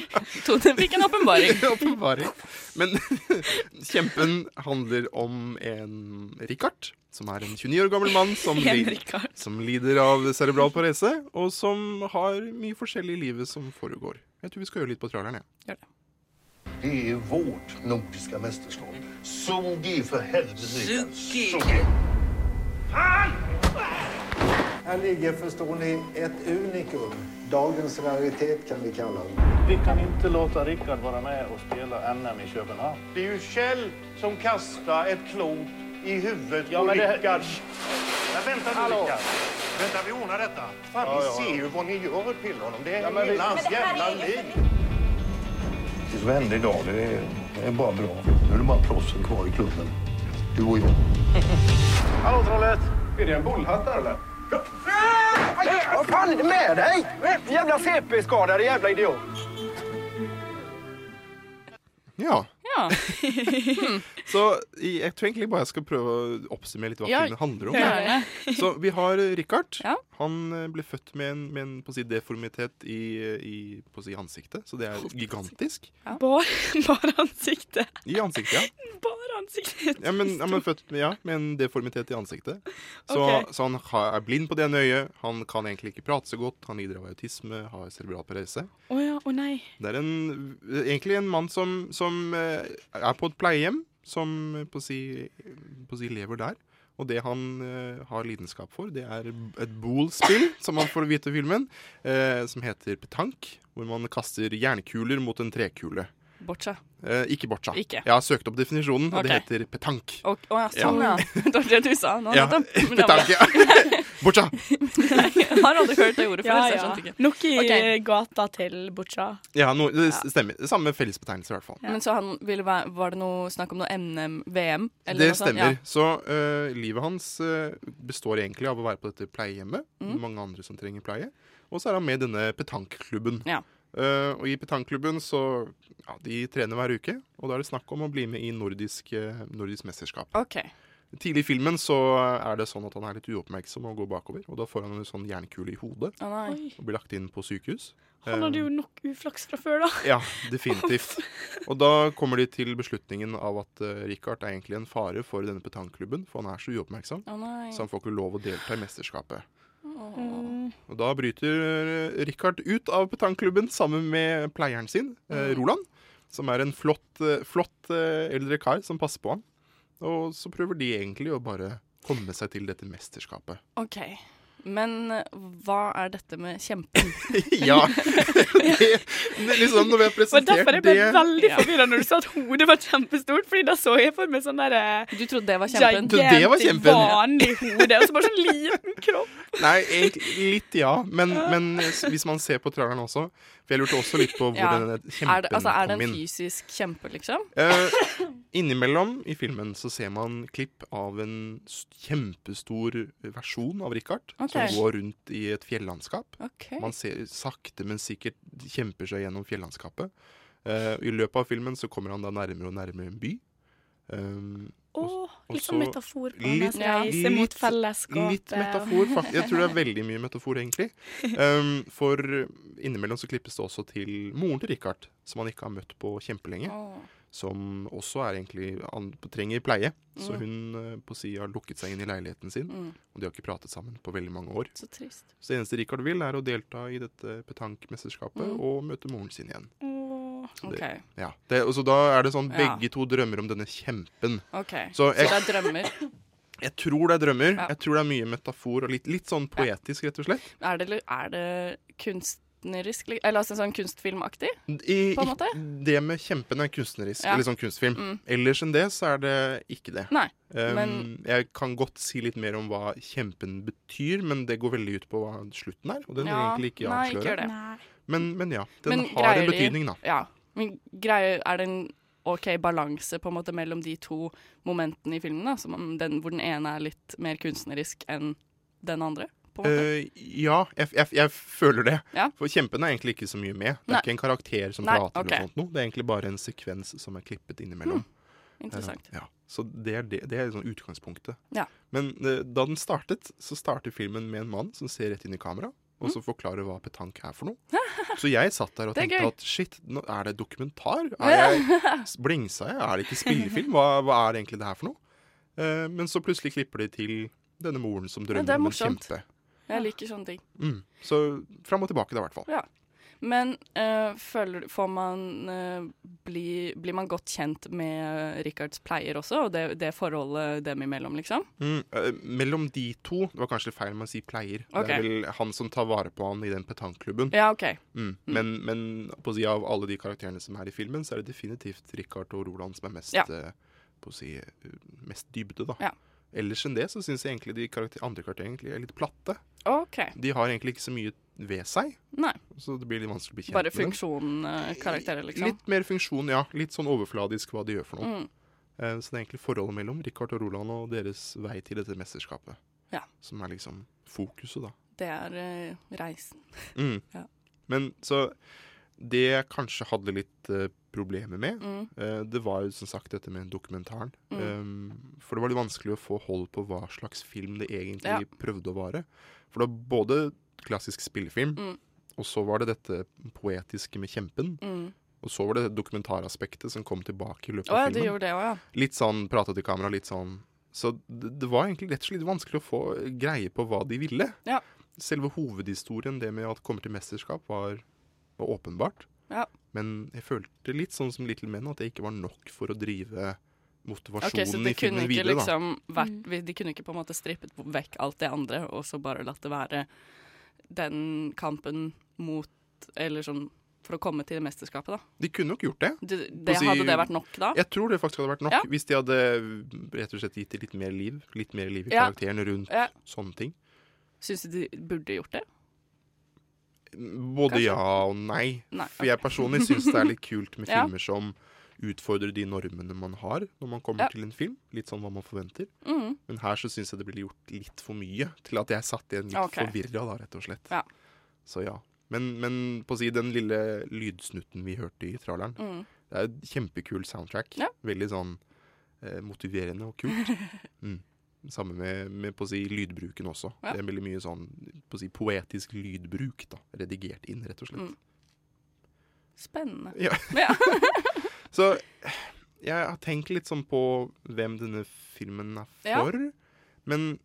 Tone fikk en åpenbaring. Åpenbaring. Men Kjempen handler om en Richard, som er en 29 år gammel mann som, En lider- Richard. som lider av cerebral parese, og som har mye forskjellig i livet som foregår. Jeg tror vi skal høre litt på traileren, jeg. Det är vårt nordiska mästerskap. Sugi för helvete! Sugi! Här ligger, förstår ni, ett unikum. Dagens raritet kan vi kalla den. Vi kan inte låta Rickard vara med och spela NM i Köpenhamn. Det är ju Kjell som kastar ett klot i huvudet Ja, på men det- Rickard. Men vänta nu, Hallå. Rickard. Vänta, vi ordnar detta. Fan, Ja, ja, ni ja. ser ju vad ni gör till honom. Det är Ja, men vi- hela hans Men det här jävla är ju- liv. Det som hände idag, det är, det är bara bra. Nu är det bara proffsen kvar i klubben. Du och jag. Hallå trollet! Är det en bullhatt där eller? Vad fan är det med dig? Jävla CP-skadade jävla idiot. Ja. Hmm. Ja. Så jeg tror egentlig bare jeg skal prøve å oppsummere litt hva Ja, filmen handler om. gjerne. Så vi har eh, Richard. Han eh, ble født med en, med en på å si, deformitet i, eh, i på å si, ansiktet, så det er gigantisk. Bare, bare ansiktet. I ansiktet, ja. Bare ansiktet. Ja, men, ja, men født med, ja, med en deformitet i ansiktet. Så, Ok. så han har, er blind på det ene øyet. Han kan egentlig ikke prate så godt. Han lider av autisme, har cerebral parese. Å ja. Å nei. Det er en, egentlig en mann som, som eh, er på et pleiehjem, som eh, på å, si, på å si lever der. Og det han eh, har lidenskap for, det er et bool-spill, som man får vite i filmen, eh, som heter petank, hvor man kaster jernkuler mot en trekule. Boccia. Eh, ikke boccia. Ikke. Jeg har søkt opp definisjonen, og det Ok. heter petank. Å ja, sånn ja. Det var det du sa nå Ja, nettopp. Men det var- petank, ja. Boccia! Jeg har aldri hørt det ordet før, Ja, så jeg ja. skjønte ikke. Nok i Ok. gata til Bucha. Ja, no, det s- stemmer. Samme fellesbetegnelse, i hvert fall. Men så han ville være, var det noe snakk om noe NM, VM? eller det noe sånt? stemmer. Så eh, livet hans eh, består egentlig av å være på dette pleiehjemmet. Mm. Mange andre som trenger pleie. Og så er han med i denne petankklubben. Ja. Eh, og i petankklubben så ja, De trener hver uke, og da er det snakk om å bli med i nordisk, eh, nordisk mesterskap. Ja. OK. Tidlig i filmen så er det sånn at han er litt uoppmerksom og går bakover. Og da får han en sånn jernkule i hodet Å nei. Oi. og blir lagt inn på sykehus. Han hadde Eh, jo nok uflaks fra før, da. ja, definitivt. Og da kommer de til beslutningen av at eh, Richard er egentlig en fare for denne petangklubben, for han er så uoppmerksom, Å nei. så han får ikke lov å delta i mesterskapet. Åh. Og da bryter eh, Richard ut av petangklubben sammen med pleieren sin, eh, Roland, som er en flott, eh, flott eh, eldre kar som passer på han. Og så prøver de egentlig å bare komme seg til dette mesterskapet. OK. Men eh, hva er dette med kjempen? Ja. Det, det, liksom, når vi har Det var presentert det derfor jeg ble veldig Ja. forvirra når du sa at hodet var kjempestort, Fordi da så jeg for meg sånn der eh, Du trodde det var kjempen? Du, det var gigantisk, kjempen. vanlig hode, og så bare sånn liten kropp. Nei, egentlig litt ja. Men, men s- hvis man ser på traileren også For jeg lurte også litt på hvor Ja. denne er, kjempen det, altså, er det kom en inn. fysisk kjempe, liksom? Eh, innimellom i filmen så ser man klipp av en s- kjempestor versjon av Richard Ok. som går rundt i et fjellandskap. Ok. Man ser sakte, men sikkert kjemper seg gjennom fjellandskapet. Eh, I løpet av filmen så kommer han da nærmere og nærmere en by. Um, Åh, og litt sånn så- metafor på hennes reise litt- mot fellesskapet. Litt metafor, faktisk. Jeg tror det er veldig mye metafor, egentlig. Um, for innimellom så klippes det også til moren til Richard, som han ikke har møtt på kjempelenge. Åh. Som også er egentlig an, trenger pleie. Så Mm. hun eh, på å si, har lukket seg inn i leiligheten sin, Mm. og de har ikke pratet sammen på veldig mange år. Så trist. Så det eneste Richard vil, er å delta i dette petankmesterskapet Mm. og møte moren sin igjen. Så det- OK. Ja. Det, og så da er det sånn Ja. begge to drømmer om denne kjempen. ok. Så, Så jeg- det er drømmer. Jeg tror det er drømmer. Ja. Jeg tror det er mye metafor og litt, litt sånn poetisk, rett og slett. Er det, er det kunstnerisk? li- Eller altså sånn kunstfilmaktig? I, På en måte? ikk- Det med kjempen er kunstnerisk, Ja. eller sånn kunstfilm. Mm. Ellers enn det så er det ikke det. Nei, Um, men- Jeg kan godt si litt mer om hva kjempen betyr, men det går veldig ut på hva slutten er. Og den vil Ja, egentlig ikke nei, ikke avsløre. gjør det. Nei. Men, men ja, den Men har en greier de- betydning, da. Ja, men greier, er det en OK balanse på en måte mellom de to momentene i filmen, da, som om den, hvor den ene er litt mer kunstnerisk enn den andre? På en måte? Eh, ja, jeg, jeg, jeg føler det. Ja. For kjempen er egentlig ikke så mye med. Det er Nei. ikke en karakter som Nei, prater ok. eller sånt noe. Det er egentlig bare en sekvens som er klippet innimellom. Hmm, interessant. Eh, ja. Så det er, det, det er liksom utgangspunktet. Ja. Men eh, da den startet, så starter filmen med en mann som ser rett inn i kamera. Og så forklarer hva petank er for noe. Så jeg satt der og Mm. Det er tenkte gøy. at shit, nå er det dokumentar? Er jeg, blingsa jeg? Er det ikke spillefilm? Hva, hva er egentlig det her for noe? Eh, men så plutselig klipper de til denne moren som Ja, drømmer det er om en morsomt. kjempe. Jeg liker sånne ting. Mm. Så fram og tilbake, da, i hvert fall. Ja. Men eh, føler, får man eh, bli, Blir man godt kjent med Richards pleier også, og det, det forholdet dem imellom, liksom? Mm, eh, mellom de to Det var kanskje feil med å si pleier. Det Ok. er vel han som tar vare på han i den petanklubben. Ja, ok. Mm. Men, men på å si av alle de karakterene som er i filmen, så er det definitivt Richard og Roland som er mest, Ja. eh, på å si, eh, mest dybde, da. Ja. Ellers enn det så syns jeg egentlig de karakter, andre karakterene egentlig er litt platte. OK. De har egentlig ikke så mye ved seg, Nei. så det blir litt vanskelig å bli kjent Bare med dem. funksjonen, eh, karakterer, liksom? Litt mer funksjon, ja. Litt sånn overfladisk hva de gjør for noe. Mm. Eh, Så det er egentlig forholdet mellom Richard og Roland og deres vei til dette mesterskapet Ja. som er liksom fokuset, da. Det er eh, reisen. Mm. Ja. Men så Det jeg kanskje hadde litt eh, problemer med, Mm. eh, det var jo som sagt dette med dokumentaren. Mm. Eh, for det var litt vanskelig å få hold på hva slags film det egentlig Ja. prøvde å være. For det var både klassisk spillefilm, Mm. og så var det dette poetiske med kjempen. Mm. Og så var det det dokumentaraspektet som kom tilbake i løpet Å ja, av du filmen. gjorde det òg, ja. Litt sånn prate til kamera, litt sånn Så det, det var egentlig rett og slett vanskelig å få greie på hva de ville. Ja. Selve hovedhistorien, det med at det kommer til mesterskap, var, var åpenbart. Ja. Men jeg følte litt sånn som Little Men, at det ikke var nok for å drive Ok, så motivasjonen i det filmen kunne ikke videre. liksom vært, vi- De kunne ikke på en måte strippet vekk alt det andre, og så bare latt det være den kampen mot Eller sånn for å komme til det mesterskapet, da. da. De kunne nok gjort det. Det- På det- å si- hadde det vært nok da? Jeg tror det faktisk hadde vært nok. Ja. Hvis de hadde rett og slett gitt det litt mer liv. Litt mer liv i Ja. karakterene rundt Ja. sånne ting. Syns du de burde gjort det? Både Kanskje? ja og nei. Nei, For jeg ok. personlig syns det er litt kult med Ja. filmer som utfordrer de normene man har når man kommer Ja. til en film. Litt sånn hva man forventer. Mhm. Men her så syns jeg det blir gjort litt for mye til at jeg satt igjen litt Ok. forvirra, da, rett og slett. Ja. Så ja. Men, men på å si den lille lydsnutten vi hørte i tralleren, Mhm. det er et kjempekul soundtrack. Ja. Veldig sånn eh, motiverende og kult. mm. Samme med, med på å si, lydbruken også. Ja. Det er veldig mye sånn på å si, poetisk lydbruk. da, Redigert inn, rett og slett. Mm. Spennende. Ja. Ja. Så jeg har tenkt litt sånn på hvem denne filmen er Ja. for. Men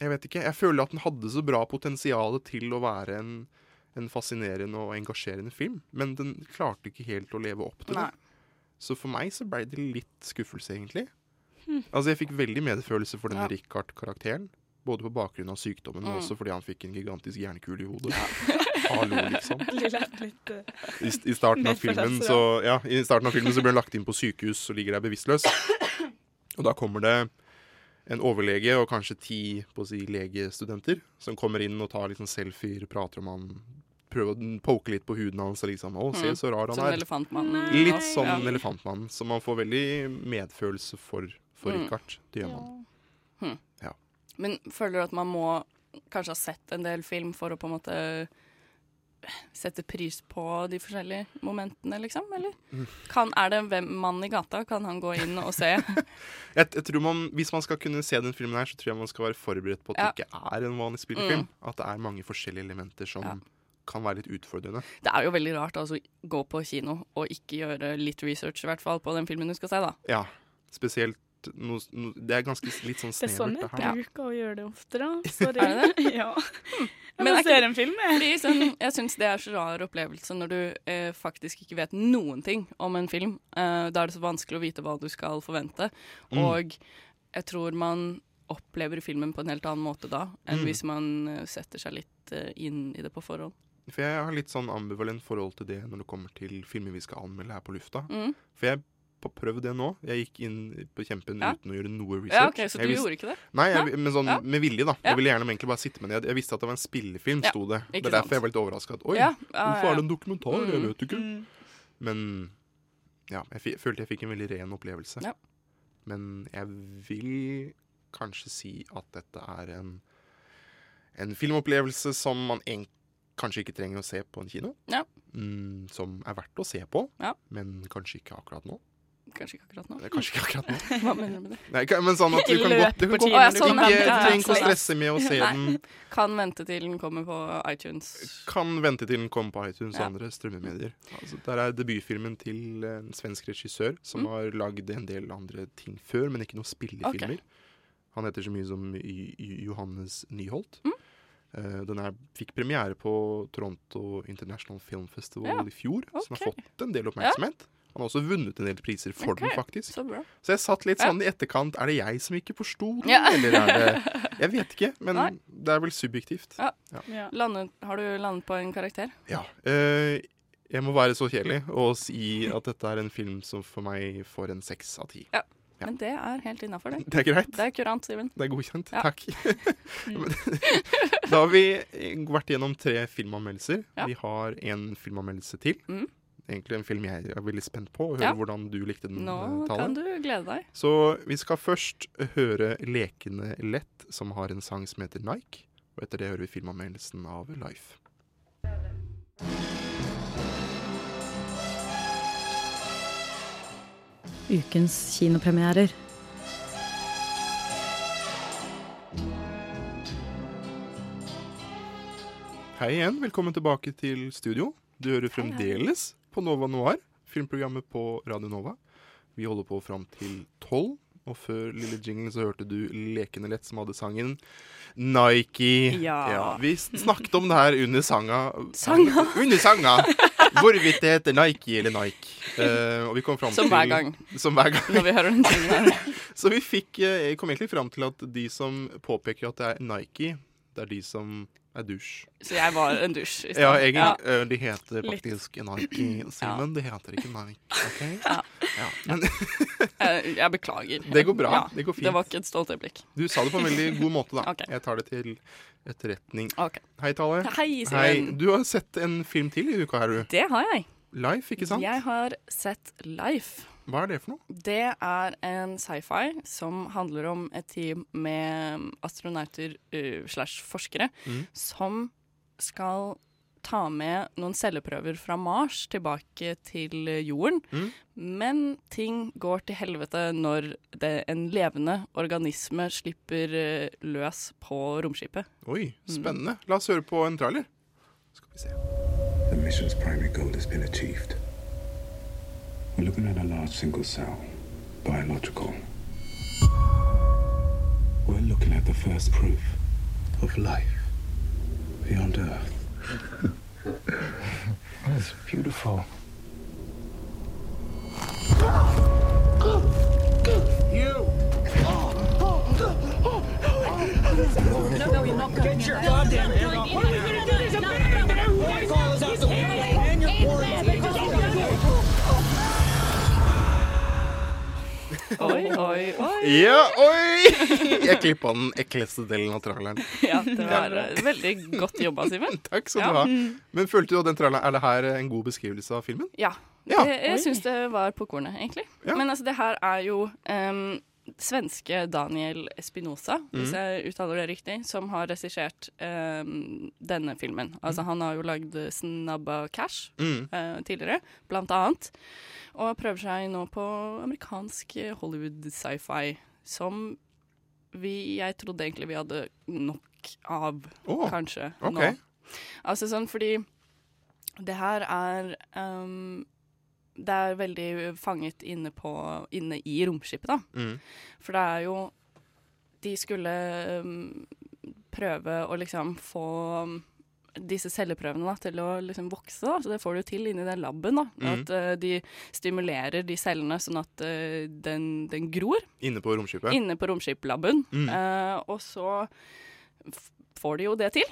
jeg vet ikke. Jeg føler at den hadde så bra potensial til å være en, en fascinerende og engasjerende film. Men den klarte ikke helt å leve opp til Nei. det. Så for meg så ble det litt skuffelse, egentlig. Hm. Altså Jeg fikk veldig medfølelse for denne Ja. Hm. Richard-karakteren. Både på bakgrunn av sykdommen, men Mm. også fordi han fikk en gigantisk jernkule i hodet. Hallo, liksom. Lille, litt, eh, I, I starten av medfølelse, filmen da. så Ja, i starten av filmen så blir han lagt inn på sykehus og ligger der bevisstløs. Og da kommer det en overlege og kanskje ti på å si, legestudenter som kommer inn og tar liksom selfier, prater om han Prøver å poke litt på huden hans og liksom Å, se Mm. så rar han Sånn er. elefantmannen. Litt sånn Ja. elefantmannen. Så man får veldig medfølelse for, for Mm. Richard. Det gjør man. Hm. Ja. Men føler du at man må kanskje ha sett en del film for å på en måte eh, sette pris på de forskjellige momentene, liksom? Eller Mm. kan, er det en hvem- mann i gata? Kan han gå inn og se? Jeg, jeg tror man, Hvis man skal kunne se den filmen her, så tror jeg man skal være forberedt på at Ja. det ikke er en vanlig spillefilm. Mm. At det er mange forskjellige elementer som Ja. kan være litt utfordrende. Det er jo veldig rart altså, å gå på kino og ikke gjøre litt research i hvert fall, på den filmen du skal se, da. Ja, Spesielt no, no, Det er ganske s- litt sånn Det er sånn snevert, jeg det her. bruker å gjøre det ofte, da. Sorry. Er det det? ja. Jeg Men bare er ikke- ser en film, jeg. Fordi, sånn, jeg syns det er så rar opplevelse når du eh, faktisk ikke vet noen ting om en film. Eh, da er det så vanskelig å vite hva du skal forvente. Mm. Og jeg tror man opplever filmen på en helt annen måte da enn Mm. hvis man eh, setter seg litt eh, inn i det på forhånd. For jeg har litt sånn ambivalent forhold til det når det kommer til filmer vi skal anmelde her på lufta. Mm. For jeg p- prøvd det nå. Jeg gikk inn på Kjempen Ja. uten å gjøre noe research. Ja, ok, så Jeg du visste- gjorde ikke det? Nei, jeg, Ja. men sånn Ja. med vilje, da. Ja. Jeg ville gjerne egentlig bare sitte meg ned. Jeg visste at det var en spillefilm, Ja, sto det. ikke Det er derfor sant. jeg var litt overraska. Oi, Ja, ja, hvorfor ja. er det en dokumentar? Jeg Mm, vet ikke. Men ja, jeg fi- følte jeg fikk en veldig ren opplevelse. Ja. Men jeg vil kanskje si at dette er en, en filmopplevelse som man egent- kanskje ikke trenger å se på en kino. Ja. Mm, som er verdt å se på, Ja. men kanskje ikke akkurat nå. Kanskje ikke akkurat nå. Nei, kanskje ikke akkurat nå. Hva mener du med det? Nei, ka- men sånn at du kan godt- du kan godt- Å, ja, du sånn, kan ja. ikke- Ja, du trenger ikke å sorry. stresse med å se Nei. den. Kan vente til den kommer på iTunes. Kan vente til den kommer på iTunes Ja. og andre strømmemedier. Altså, der er debutfilmen til en svensk regissør som Mm. har lagd en del andre ting før, men ikke noen spillefilmer. Ok. Han heter så mye som Y- Y- Johannes Nyholt. Mm. Eh, den er, fikk premiere på Toronto International Film Festival Ja, i fjor, som har ok. fått en del oppmerksomhet. Han har også vunnet en del priser for den, Ok, faktisk. så bra. Så jeg satt litt Ja. sånn i etterkant Er det jeg som ikke forsto den, Ja. eller er det Jeg vet ikke, men Nei. det er vel subjektivt. Ja. Landet, har du landet på en karakter? Ja. eh, jeg må være så kjedelig og si at dette er en film som for meg får en seks av ti. Ja. Ja. Men det er helt innafor, det. Det er greit. Det er kurant, Simen. Det er godkjent. Ja. Mm. Takk. Men- da har vi eh, vært gjennom tre filmanmeldelser. Ja. Vi har en filmanmeldelse til. Mm. Egentlig en film jeg er veldig spent på, å høre Ja. hvordan du likte den. Nå eh, Tale. kan du glede deg. Så vi skal først høre Lekende lett, som har en sang som heter Nike. Og etter det hører vi filmanmeldelsen av Life. Ukens kinopremierer. Hei igjen, velkommen tilbake til studio. Du hører fremdeles på Nova Noir, filmprogrammet på Radio Nova. Vi holder på fram til tolv, og før lille jingle så hørte du Lekende lett som hadde sangen Nike. Ja. vi snakket om det her under sanga. Sanga. Under sanga. Hvorvidt det heter Nike eller Nike. Eh, og vi kom fram Som til hver gang. Som hver gang. Når vi hører den sangen her. Så vi fikk, eh, jeg kom egentlig fram til at de som påpeker at det er Nike, det er de som er dusj. Så jeg var en dusj i stad. Ja, egentlig. Ja. eh, De heter Litt. faktisk Nike, Simen. De heter ikke Nike. ok? Ja. Men Jeg, jeg beklager. Det går bra. Ja, Det går fint. Det var ikke et stolt øyeblikk. du sa det på en veldig god måte, da. Ok. Jeg tar det til etterretning. Hei, Tale. Hei, Simen. Du har sett en film til i uka, har du? Det har jeg. Life, ikke sant? Jeg har sett Life. Hva er det for noe? Det er en sci-fi som handler om et team med astronauter eh, slash forskere Mm. som skal ta med noen celleprøver fra Mars tilbake til eh, jorden. Mm. Men ting går til helvete når det, en levende organisme slipper eh, løs på romskipet. Oi, Mm. spennende. La oss høre på en trailer. The mission's primary goal has been achieved. We're looking at a large single cell, biological. We're looking at the first proof of life beyond Earth. That's beautiful. You! No, no, you're not Get your goddamn hand off! What are we gonna do? There's a man over there who wants us out the window! And you're Oi, oi, oi. Ja, oi! Jeg klippa den ekleste delen av traileren. Ja, det var eh, veldig godt jobba, Simen. Takk skal Ja. du ha. Men følte du at den traileren, er det her en god beskrivelse av filmen? Ja. Ja. Det, Oi. jeg syns det var på kornet, egentlig. Men altså, det her er jo em, svenske Daniel Espinosa, hvis Mm. jeg uttaler det riktig, som har regissert em, denne filmen. Altså, han har jo lagd Snabba Cash Mm. eh, tidligere, blant annet. Og prøver seg nå på amerikansk Hollywood sci-fi, som vi, jeg trodde egentlig vi hadde nok av, Å, kanskje, ok. nå. Altså sånn fordi det her er ehm, Det er veldig fanget inne, på, inne i romskipet, da. Mm. For det er jo De skulle ehm, prøve å liksom få disse celleprøvene da, til å liksom vokse. Da. Så det får du til inni den laben. Da. Mm. At eh, de stimulerer de cellene sånn at eh, den, den gror. Inne på romskipet? Inne på romskiplaben. Mm. Eh, og så f får de jo det til.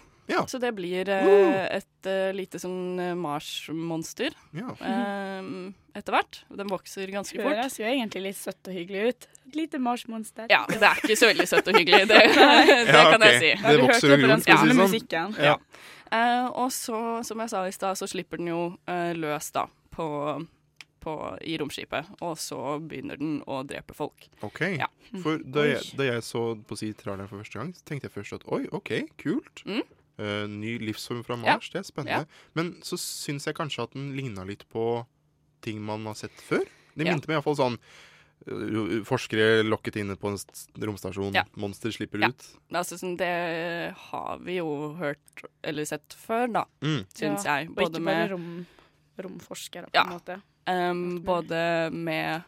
Så det blir eh, et eh, lite sånn eh, Mars-monster eh, ja. etter hvert. Den vokser ganske Det fort. høres jo egentlig litt søtt og hyggelig ut. Et lite marsmonster. Ja, det er ikke så veldig søtt og hyggelig, det, det Nei. kan jeg si. Ja, du hørte jo på den skumle sånn. musikken. Ja. Eh, og så, som jeg sa i stad, så slipper den jo eh, løs da, på, på, i romskipet. Og så begynner den å drepe folk. Ok. Ja. For da Oi. jeg, da jeg så på å si traileren for første gang, så tenkte jeg først at oi, OK, kult. Mm. Eh, ny livsform fra Ja. Mars, det er spennende. Ja. Men så syns jeg kanskje at den ligna litt på ting man har sett før. Det Ja. minte meg iallfall sånn eh, Forskere lokket inne på en s- romstasjon, Ja. monster slipper Ja. ut. Altså, sånn, det har vi jo hørt eller sett før, da, Mm. syns jeg. og ikke Både bare med, rom, romforskere, på Ja. en måte. um, både med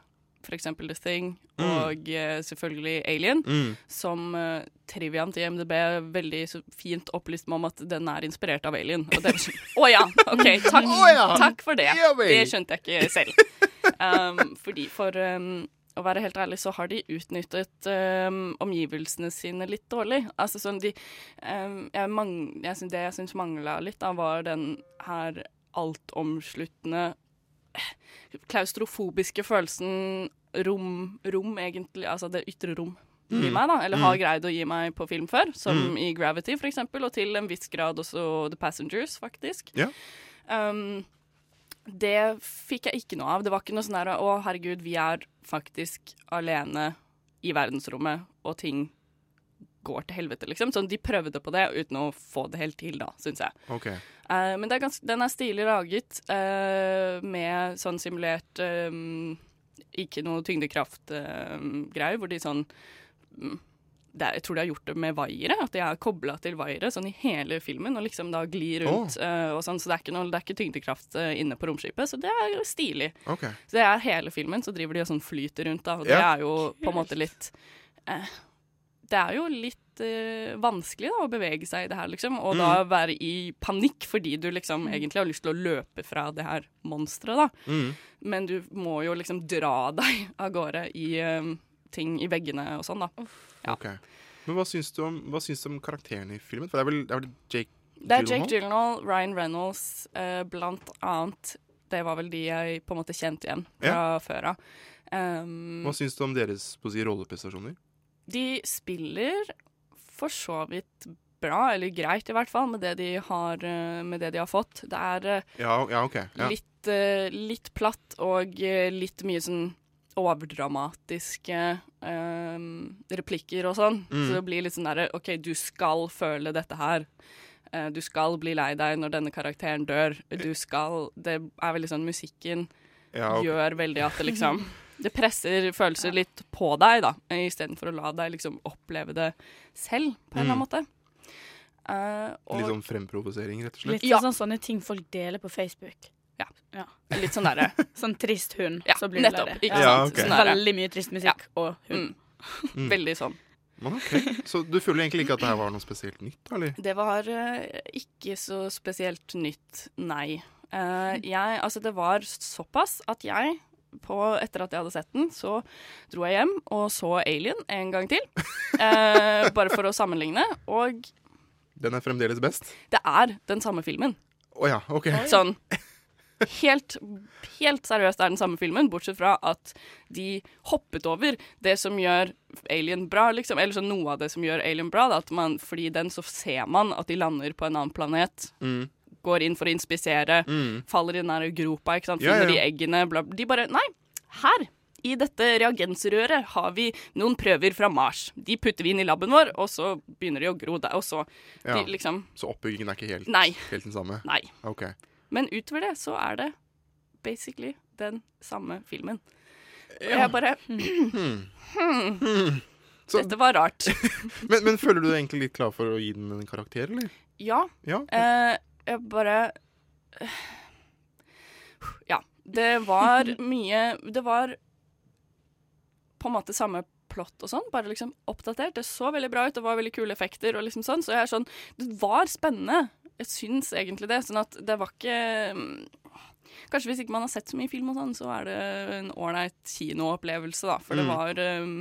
f.eks. The Thing Mm. og eh, selvfølgelig Alien, Mm. som eh, trivian til MDB veldig så fint opplyste meg om at den er inspirert av Alien. Og det var sånn Å ja! OK, takk, Å ja, takk for det. ja vel. det skjønte jeg ikke selv. Um, fordi for um, å være helt ærlig, så har de utnyttet um, omgivelsene sine litt dårlig. Altså sånn de um, jeg, mang, jeg synes Det jeg syns mangla litt, da, var den her altomsluttende eh, klaustrofobiske følelsen rom, rom egentlig, altså det ytre rom. Gi Mm. meg da, Eller har Mm. greid å gi meg på film før, som Mm. i Gravity for eksempel, og til en viss grad også The Passengers, faktisk. Ja. Um, det fikk jeg ikke noe av. Det var ikke noe sånn her Å, herregud, vi er faktisk alene i verdensrommet, og ting går til helvete, liksom. Sånn, de prøvde på det uten å få det helt til, da, syns jeg. OK. Eh, men det er gans- den er stilig laget, eh, med sånn simulert eh, Ikke noe tyngdekraftgreier, hvor de sånn mm, det er, jeg tror de har gjort det med vaiere, at de er kobla til vaiere sånn i hele filmen og liksom da glir rundt. eh, og sånn, så det er ikke, noe, det er ikke tyngdekraft eh, inne på romskipet, så det er jo stilig. ok. Så det er hele filmen, så driver de og sånn flyter rundt, da, og det Ja. er jo på en måte litt eh, Det er jo litt eh, vanskelig da, å bevege seg i det her, liksom, og Mm. da være i panikk fordi du liksom egentlig har lyst til å løpe fra det her monsteret, da. Mm. Men du må jo liksom dra deg av gårde i eh, ting i veggene og sånn, da. ok. Men hva syns, du om, hva syns du om karakterene i filmen? For det er vel, det er vel Jake Det er Jake Gyllenhaal? Gyllenhaal, Ryan Reynolds, eh, blant annet. Det var vel de jeg på en måte kjente igjen fra før av. Um, Hva syns du om deres på å si, rolleprestasjoner? de spiller for så vidt bra, eller greit i hvert fall, med det de har, eh, med det de har fått. Det er eh, Ja, ja OK. Ja. litt, eh, litt platt og eh, litt mye sånn overdramatiske eh, replikker og sånn. Mm. Så det blir litt sånn derre OK, du skal føle dette her. Eh, du skal bli lei deg når denne karakteren dør. Du skal Det er veldig sånn musikken Ja, ok. gjør veldig at det liksom Det presser følelser litt på deg, da, istedenfor å la deg liksom oppleve det selv, på en eller annen Mm. måte. Eh, og- Litt sånn fremprovosering, rett og slett? Litt sånn sånne ting folk deler på Facebook. Ja. Litt sånn derre. sånn trist hund, Ja, så blir du lei nettopp, deg. ikke Ja, sant? ok. Sånn derre. Veldig mye trist musikk og hund. Mm. Veldig sånn. Men ok. Så du føler egentlig ikke at det her var noe spesielt nytt, da, eller? Det var eh, ikke så spesielt nytt, nei. Eh, jeg, altså det var såpass at jeg, på, etter at jeg hadde sett den, så dro jeg hjem og så Alien en gang til. eh, bare for å sammenligne. Og Den er fremdeles best? det er den samme filmen. Å ja, OK. Sånn helt, helt seriøst er den samme filmen, bortsett fra at de hoppet over det som gjør Alien bra, liksom. Eller sånn noe av det som gjør Alien bra. Da, at man, fordi i den så ser man at de lander på en annen planet. Mm. Går inn for å inspisere, Mm. faller i den der gropa, ikke sant? Ja, ja. finner de eggene, bla De bare Nei, her! I dette reagensrøret har vi noen prøver fra Mars. De putter vi inn i laben vår, og så begynner de å gro der. Og så Ja. de, liksom Så oppbyggingen er ikke helt, Nei. helt den samme? Nei. OK. men utover det så er det basically den samme filmen. Og Ja. jeg bare Hmm. hmm, Dette var rart. Men, men føler du deg egentlig litt klar for å gi den en karakter, eller? Ja. Ja. Eh, jeg bare Ja. Det var mye Det var på en måte samme plott og sånn, bare liksom oppdatert. Det så veldig bra ut, det var veldig kule effekter og liksom sånn. Så jeg er sånn Det var spennende. Jeg syns egentlig det. Sånn at det var ikke mm, Kanskje hvis ikke man har sett så mye film og sånn, så er det en ålreit kinoopplevelse, da. For det Mm. var um,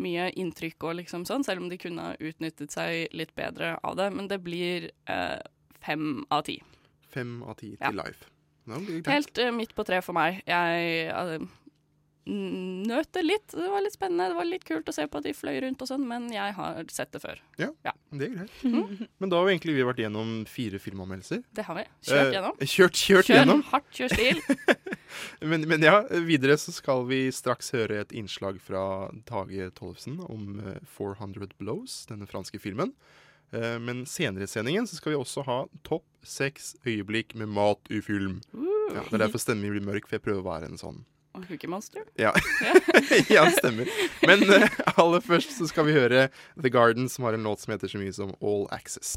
mye inntrykk og liksom sånn, selv om de kunne ha utnyttet seg litt bedre av det. Men det blir eh, fem av ti. Fem av ti Ja. til live. No, det er greit. Helt eh, midt på treet for meg. Jeg eh, n- nøt det litt. Det var litt spennende, det var litt kult å se på at de fløy rundt og sånn, men jeg har sett det før. Ja, det er greit. Men da har vi egentlig vi vært gjennom fire filmanmeldelser. Det har vi. Kjørt Eh, gjennom. Kjørt, kjørt Kjør gjennom. hardt, kjør stil. Men, men ja, videre så skal vi straks høre et innslag fra Tage Tollefsen om eh, 400 Blows, denne franske filmen. Eh, Men senere i sendingen så skal vi også ha topp seks øyeblikk med mat i film. Woo. Ja, det er derfor stemmen min blir mørk, for jeg prøver å være en sånn Og Cookie Monster. ja. ja, det stemmer. Men eh, aller først så skal vi høre The Garden, som har en låt som heter så mye som All Access.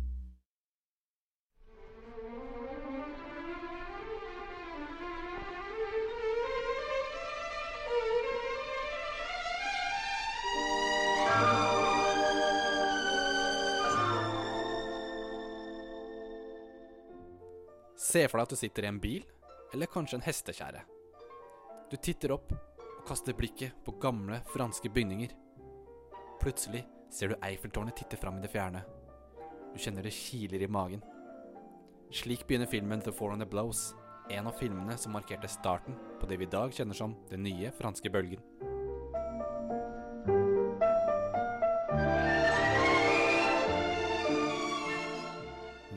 Se for deg at du sitter i en bil, eller kanskje en hestekjære. Du titter opp og kaster blikket på gamle franske bygninger. Plutselig ser du Eiffeltårnet titte fram i det fjerne. Du kjenner det kiler i magen. Slik begynner filmen The Four on the Blows, en av filmene som markerte starten på det vi i dag kjenner som den nye franske bølgen.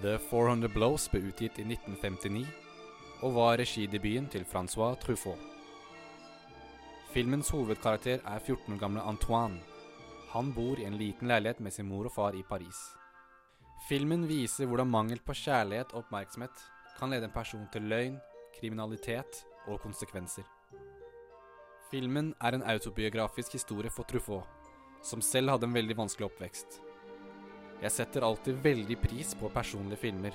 The 400 Blows ble utgitt i 1959 og var regidebuten til Francois Truffaut. Filmens hovedkarakter er 14 år gamle Antoine. Han bor i en liten leilighet med sin mor og far i Paris. Filmen viser hvordan mangel på kjærlighet og oppmerksomhet kan lede en person til løgn, kriminalitet og konsekvenser. Filmen er en autobiografisk historie for Truffaut, som selv hadde en veldig vanskelig oppvekst. Jeg setter alltid veldig pris på personlige filmer.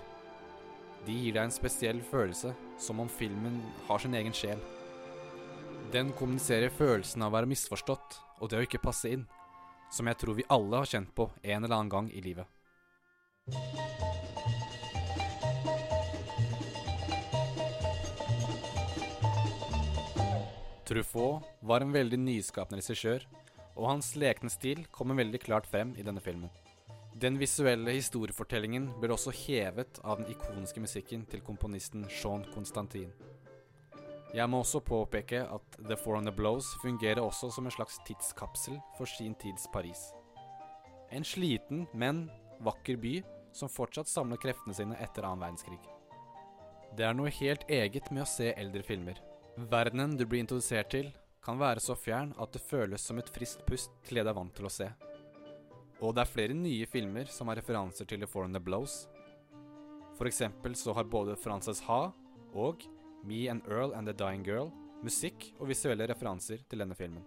De gir deg en spesiell følelse, som om filmen har sin egen sjel. Den kommuniserer følelsen av å være misforstått og det å ikke passe inn, som jeg tror vi alle har kjent på en eller annen gang i livet. Truffaut var en veldig nyskapende regissør, og hans lekne stil kommer veldig klart frem i denne filmen. Den visuelle historiefortellingen blir også hevet av den ikoniske musikken til komponisten Sean Constantin. Jeg må også påpeke at The Four on the Blows fungerer også som en slags tidskapsel for sin tids Paris. En sliten, men vakker by som fortsatt samler kreftene sine etter annen verdenskrig. Det er noe helt eget med å se eldre filmer. Verdenen du blir introdusert til, kan være så fjern at det føles som et friskt pust til det du er vant til å se. Og det er flere nye filmer som har referanser til The Four on the Blows. For eksempel så har både Frances Ha og Me and Earl and the Dying Girl musikk og visuelle referanser til denne filmen.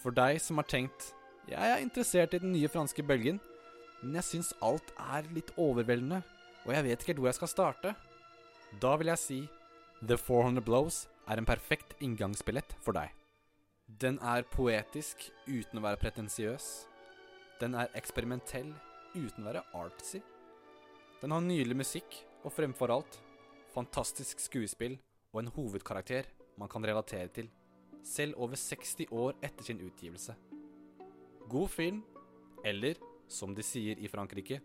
For deg som har tenkt jeg er interessert i den nye franske bølgen, men jeg syns alt er litt overveldende, og jeg vet ikke helt hvor jeg skal starte. Da vil jeg si The 400 Blows er en perfekt inngangsbillett for deg. Den er poetisk uten å være pretensiøs. Den er eksperimentell uten å være artsy. Den har nydelig musikk, og fremfor alt fantastisk skuespill og en hovedkarakter man kan relatere til, selv over 60 år etter sin utgivelse. God film, eller som de sier i Frankrike,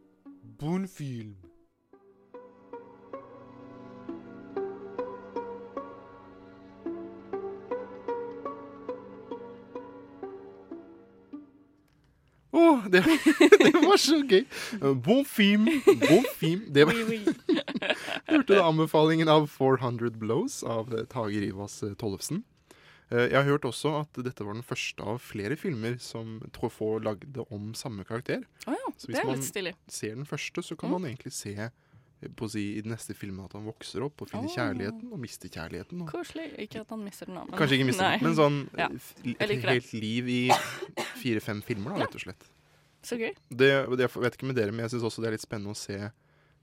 bon film. Å, Oh, det, det var så gøy! Bon film, bon film. Det var, hørte du anbefalingen av 400 Blows av eh, Tage Rivas eh, Tollefsen. Eh, Jeg har hørt også at dette var den første av flere filmer som Truffaut lagde om samme karakter. Å ja, så det hvis er man litt stilig. ser den første, så Mm. kan man egentlig se eh, på å si, i den neste filmen at han vokser opp og finner Å. kjærligheten og mister kjærligheten. Og Koselig. Ikke at han mister den, da. men- Kanskje ikke mister den, Nei. men sånn Ja. eh, f- li- Jeg liker det. helt liv i fire-fem filmer, da, rett og slett. Så gøy. Det, jeg vet ikke med dere, men jeg syns også det er litt spennende å se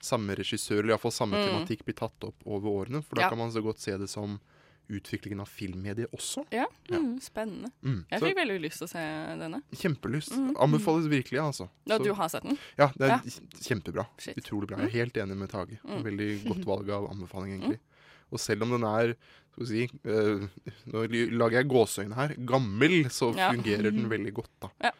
samme regissør, eller iallfall samme Mm. tematikk, bli tatt opp over årene. For da Ja. kan man så godt se det som utviklingen av filmmediet også. Ja, mm, spennende. Mm, Jeg så- fikk veldig lyst til å se denne. Kjempelyst. Mm. Anbefales virkelig, altså. Ja, Så- du har sett den? Ja, det er Ja. kjempebra. Shit. Utrolig bra. Jeg er helt enig med Tage. Mm. Veldig godt valg av anbefaling, egentlig. Og selv om den er skal vi si, eh, Nå lager jeg gåseøyne her. Gammel, så Ja. fungerer den veldig godt, da. Ja.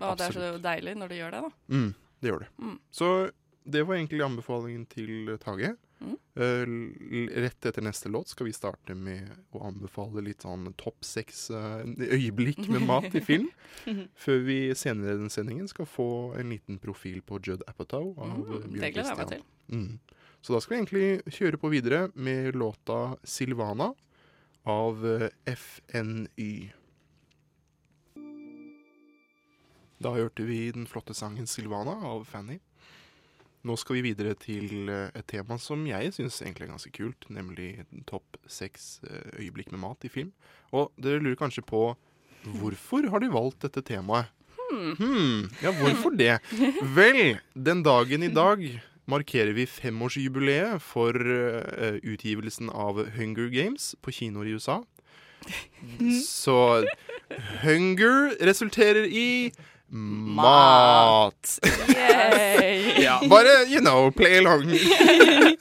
Og det er så deilig når det gjør det, da. Mm, det gjør det. Mm. Så det var egentlig anbefalingen til Tage. Mm. Eh, l- rett etter neste låt skal vi starte med å anbefale litt sånn topp seks eh, øyeblikk med mat i film. før vi senere i den sendingen skal få en liten profil på Judd Apatow. Av Bjørn Mm, det gleder jeg meg Christian. Mm. Så da skal vi egentlig kjøre på videre med låta 'Silvana' av eh, FNY. Da hørte vi den flotte sangen 'Silvana' av Fanny. Nå skal vi videre til eh, et tema som jeg syns egentlig er ganske kult, nemlig topp seks eh, øyeblikk med mat i film. Og dere lurer kanskje på hvorfor har de valgt dette temaet? Hmm. Hmm, ja, hvorfor det? Vel, den dagen i dag markerer vi femårsjubileet for eh, utgivelsen av Hunger Games på kinoer i USA. Så hunger resulterer i mat. Yay. ja, bare, you know, play along.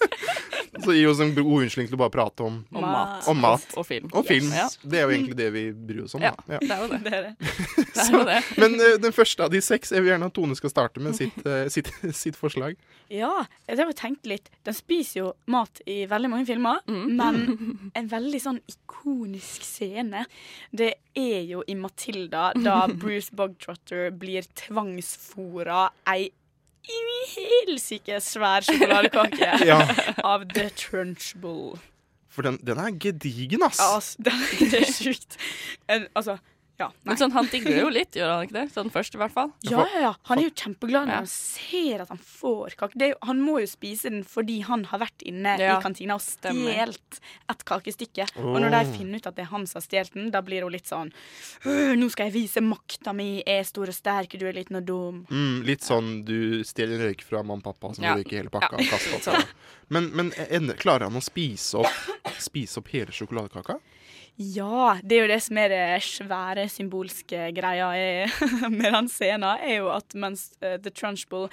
Så gi oss en god unnskyldning til å bare prate om Om mat. Om mat. Og- og film. Og film. Ja. Det er jo egentlig det vi bryr oss om. Ja, da. det er jo det. Det er det. Så, men eh, den første av de seks jeg vil gjerne at Tone skal starte med sitt, eh, sitt, sitt forslag. Ja, jeg har tenkt litt. Den spiser jo mat i veldig mange filmer, Mm. men en veldig sånn ikonisk scene, det er jo i Matilda, da Bruce Bogtrotter blir tvangsfora ei helsike svær sjokoladekake Ja. av The Trunchbull. For den, den er gedigen, ass. Ja, altså, det, det er sjukt. En, altså, ja. nei. Men sånn, han digger det jo litt, gjør han ikke det? Sånn først, i hvert fall. Ja, ja, ja. Han er jo kjempeglad når han ser at han får kake. Det er jo, han må jo spise den fordi han har vært inne Ja, i kantina og stemmer. Oh. stjålet et kakestykke. Og når de Åh. finner ut at det er han som har stjålet den, da blir hun litt sånn «Øh, Nå skal jeg vise makta mi, jeg er stor og sterk, du er liten og dum. Mm, litt sånn du stjeler røyk fra mamma og pappa, som Ja. røyker hele pakka. Ja. og kaster opp. sånn- Men, men en- klarer han å spise opp, spise opp hele sjokoladekaka? Ja, det er jo det som er det svære symbolske greia i- med den scenen, er jo at mens eh, The Trunchbull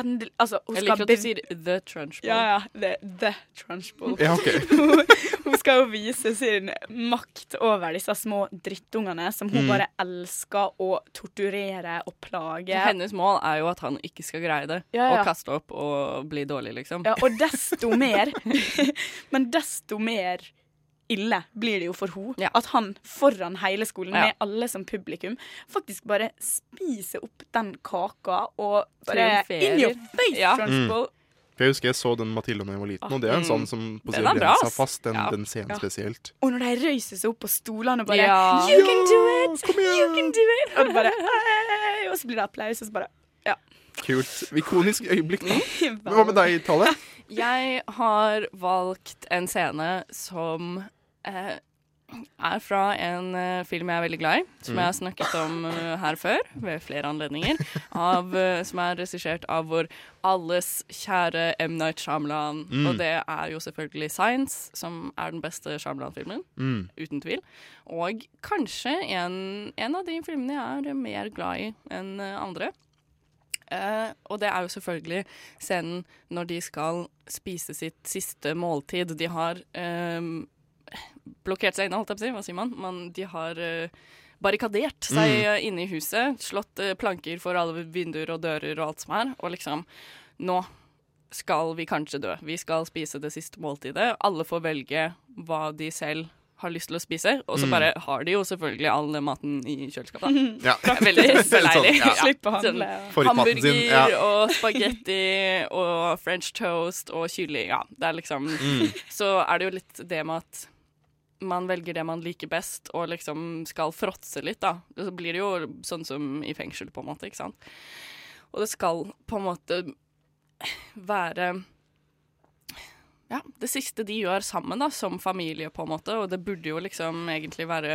endel- altså, Jeg hun skal liker at du bev- sier The Trunchbull. Ja, ja. The, the Trunchbull. Ja, ok. hun, hun skal jo vise sin makt over disse små drittungene som hun Mm. bare elsker å torturere og plage. Hennes mål er jo at han ikke skal greie det, Ja, ja. og kaste opp og bli dårlig, liksom. Ja, og desto mer Men desto mer ille blir det jo for hun At han foran hele skolen Ja. med alle som publikum faktisk bare spiser opp den kaka og bare Triumferer. In your face, Ja. Trunchbull! Mm. For Jeg husker jeg så den Matilda da jeg var liten, og det er en sånn som på Mm. Den siden er bra, rensa ass. fast, den, Ja. den scenen Ja. spesielt. Og når de røyser seg opp på stolene og bare Ja. You can do it! You can do it! Og, det bare, «Ei!» og så blir det applaus, og så bare Ja. Kult. Ikonisk øyeblikk, da. Men Hva med deg, Tale? Jeg har valgt en scene som eh, er fra en eh, film jeg er veldig glad i, som Mm. jeg har snakket om eh, her før ved flere anledninger, av, eh, som er regissert av vår alles kjære M. Night Shyamalan. Mm. Og det er jo selvfølgelig 'Science', som er den beste Shyamalan-filmen. Mm. Uten tvil. Og kanskje en, en av de filmene jeg er mer glad i enn eh, andre. Eh, og det er jo selvfølgelig scenen når de skal spise sitt siste måltid. De har eh, blokkert seg inne, holdt jeg på å si. Hva sier man? Men de har eh, barrikadert seg Mm. eh, inne i huset. Slått eh, planker for alle vinduer og dører og alt som er. Og liksom Nå skal vi kanskje dø. Vi skal spise det siste måltidet. Alle får velge hva de selv har lyst til å spise. Og så Mm. bare har de jo selvfølgelig all den maten i kjøleskapet. da. Ja. Veldig Det er sånn, deilig. ja. Slipp å handle, ja. Får Sånn, i patten hamburger sin, ja. og spagetti og french toast og kylling. Ja, det er liksom Mm. Så er det jo litt det med at man velger det man liker best, og liksom skal fråtse litt, da. Så blir det jo sånn som i fengsel, på en måte, ikke sant. Og det skal på en måte være ja, det siste de gjør sammen, da, som familie, på en måte. Og det burde jo liksom egentlig være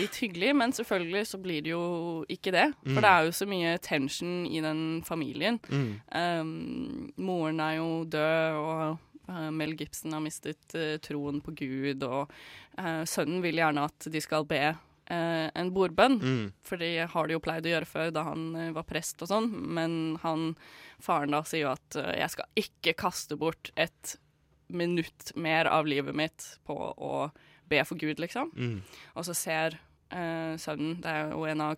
litt hyggelig, men selvfølgelig så blir det jo ikke det. For Mm. det er jo så mye tension i den familien. Mm. Um, moren er jo død, og uh, Mel Gibson har mistet uh, troen på Gud, og uh, sønnen vil gjerne at de skal be uh, en bordbønn, Mm. for det har de jo pleid å gjøre før da han eh, var prest og sånn, men han, faren da sier jo at eh, jeg skal ikke kaste bort et minutt mer av livet mitt på å be for Gud, liksom. Mm. Og så ser eh, sønnen, det er jo en av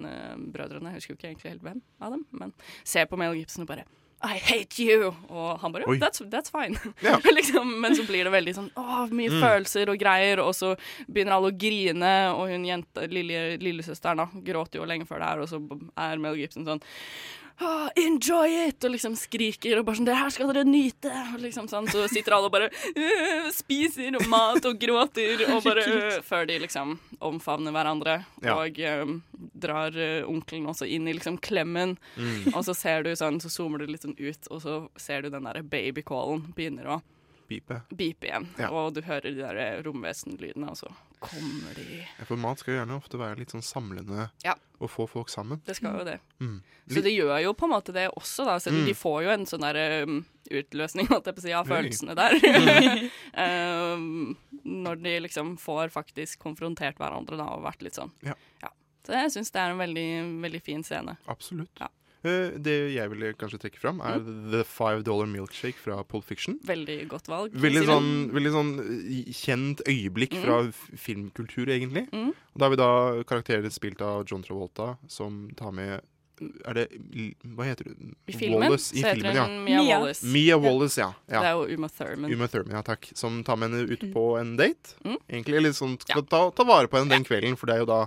Culkin-brødrene, jeg husker jo ikke egentlig helt hvem av dem, men ser på Mel Gibson og bare I hate you! Og han bare Oi. that's, that's fine. liksom, men så blir det veldig sånn åh, mye Mm. følelser og greier, og så begynner alle å grine, og hun jente, lille, lillesøsteren da, gråter jo lenge før det her, og så er Mel Gibson sånn «Ah, enjoy it! Og liksom skriker og bare sånn Det her skal dere nyte! Og liksom sånn, så sitter alle og bare «Øh», spiser mat og gråter og bare Kult. «Øh», Før de liksom omfavner hverandre. Ja. Og øhm, drar øh, onkelen også inn i liksom klemmen. Mm. Og så ser du sånn, så zoomer du litt sånn ut, og så ser du den derre babycallen begynner å Pipe. Beep igjen. Ja. Og du hører de der romvesenlydene, og så kommer de Ja, For mat skal jo gjerne ofte være litt sånn samlende Ja. og få folk sammen. Det skal jo det. Mm. Så det gjør jo på en måte det også, da. Selv om Mm. de får jo en sånn der um, utløsning, holdt jeg på å si, av Oi. følelsene der. um, når de liksom får faktisk konfrontert hverandre, da, og vært litt sånn. Ja. Så jeg syns det er en veldig, veldig fin scene. Absolutt. Eh, Det jeg ville kanskje trekke fram, er Mm. The Five Dollar Milkshake fra Pulp Fiction. Veldig godt valg. Veldig Simen. sånn, veldig sånn eh, kjent øyeblikk Mm. fra f- filmkultur, egentlig. Mm. Og Da har vi da karakterer spilt av John Travolta, som tar med Er det L- Hva heter hun? I filmen Wallace, i så heter filmen, ja. hun Mia Mia. Wallace. Mia Wallace, ja. ja. Det er jo Uma Thurman. Uma Thurman, ja, takk. Som tar med henne ut på en date. Mm. Egentlig eller sånn, skal ta, ta vare på henne den kvelden, for det er jo da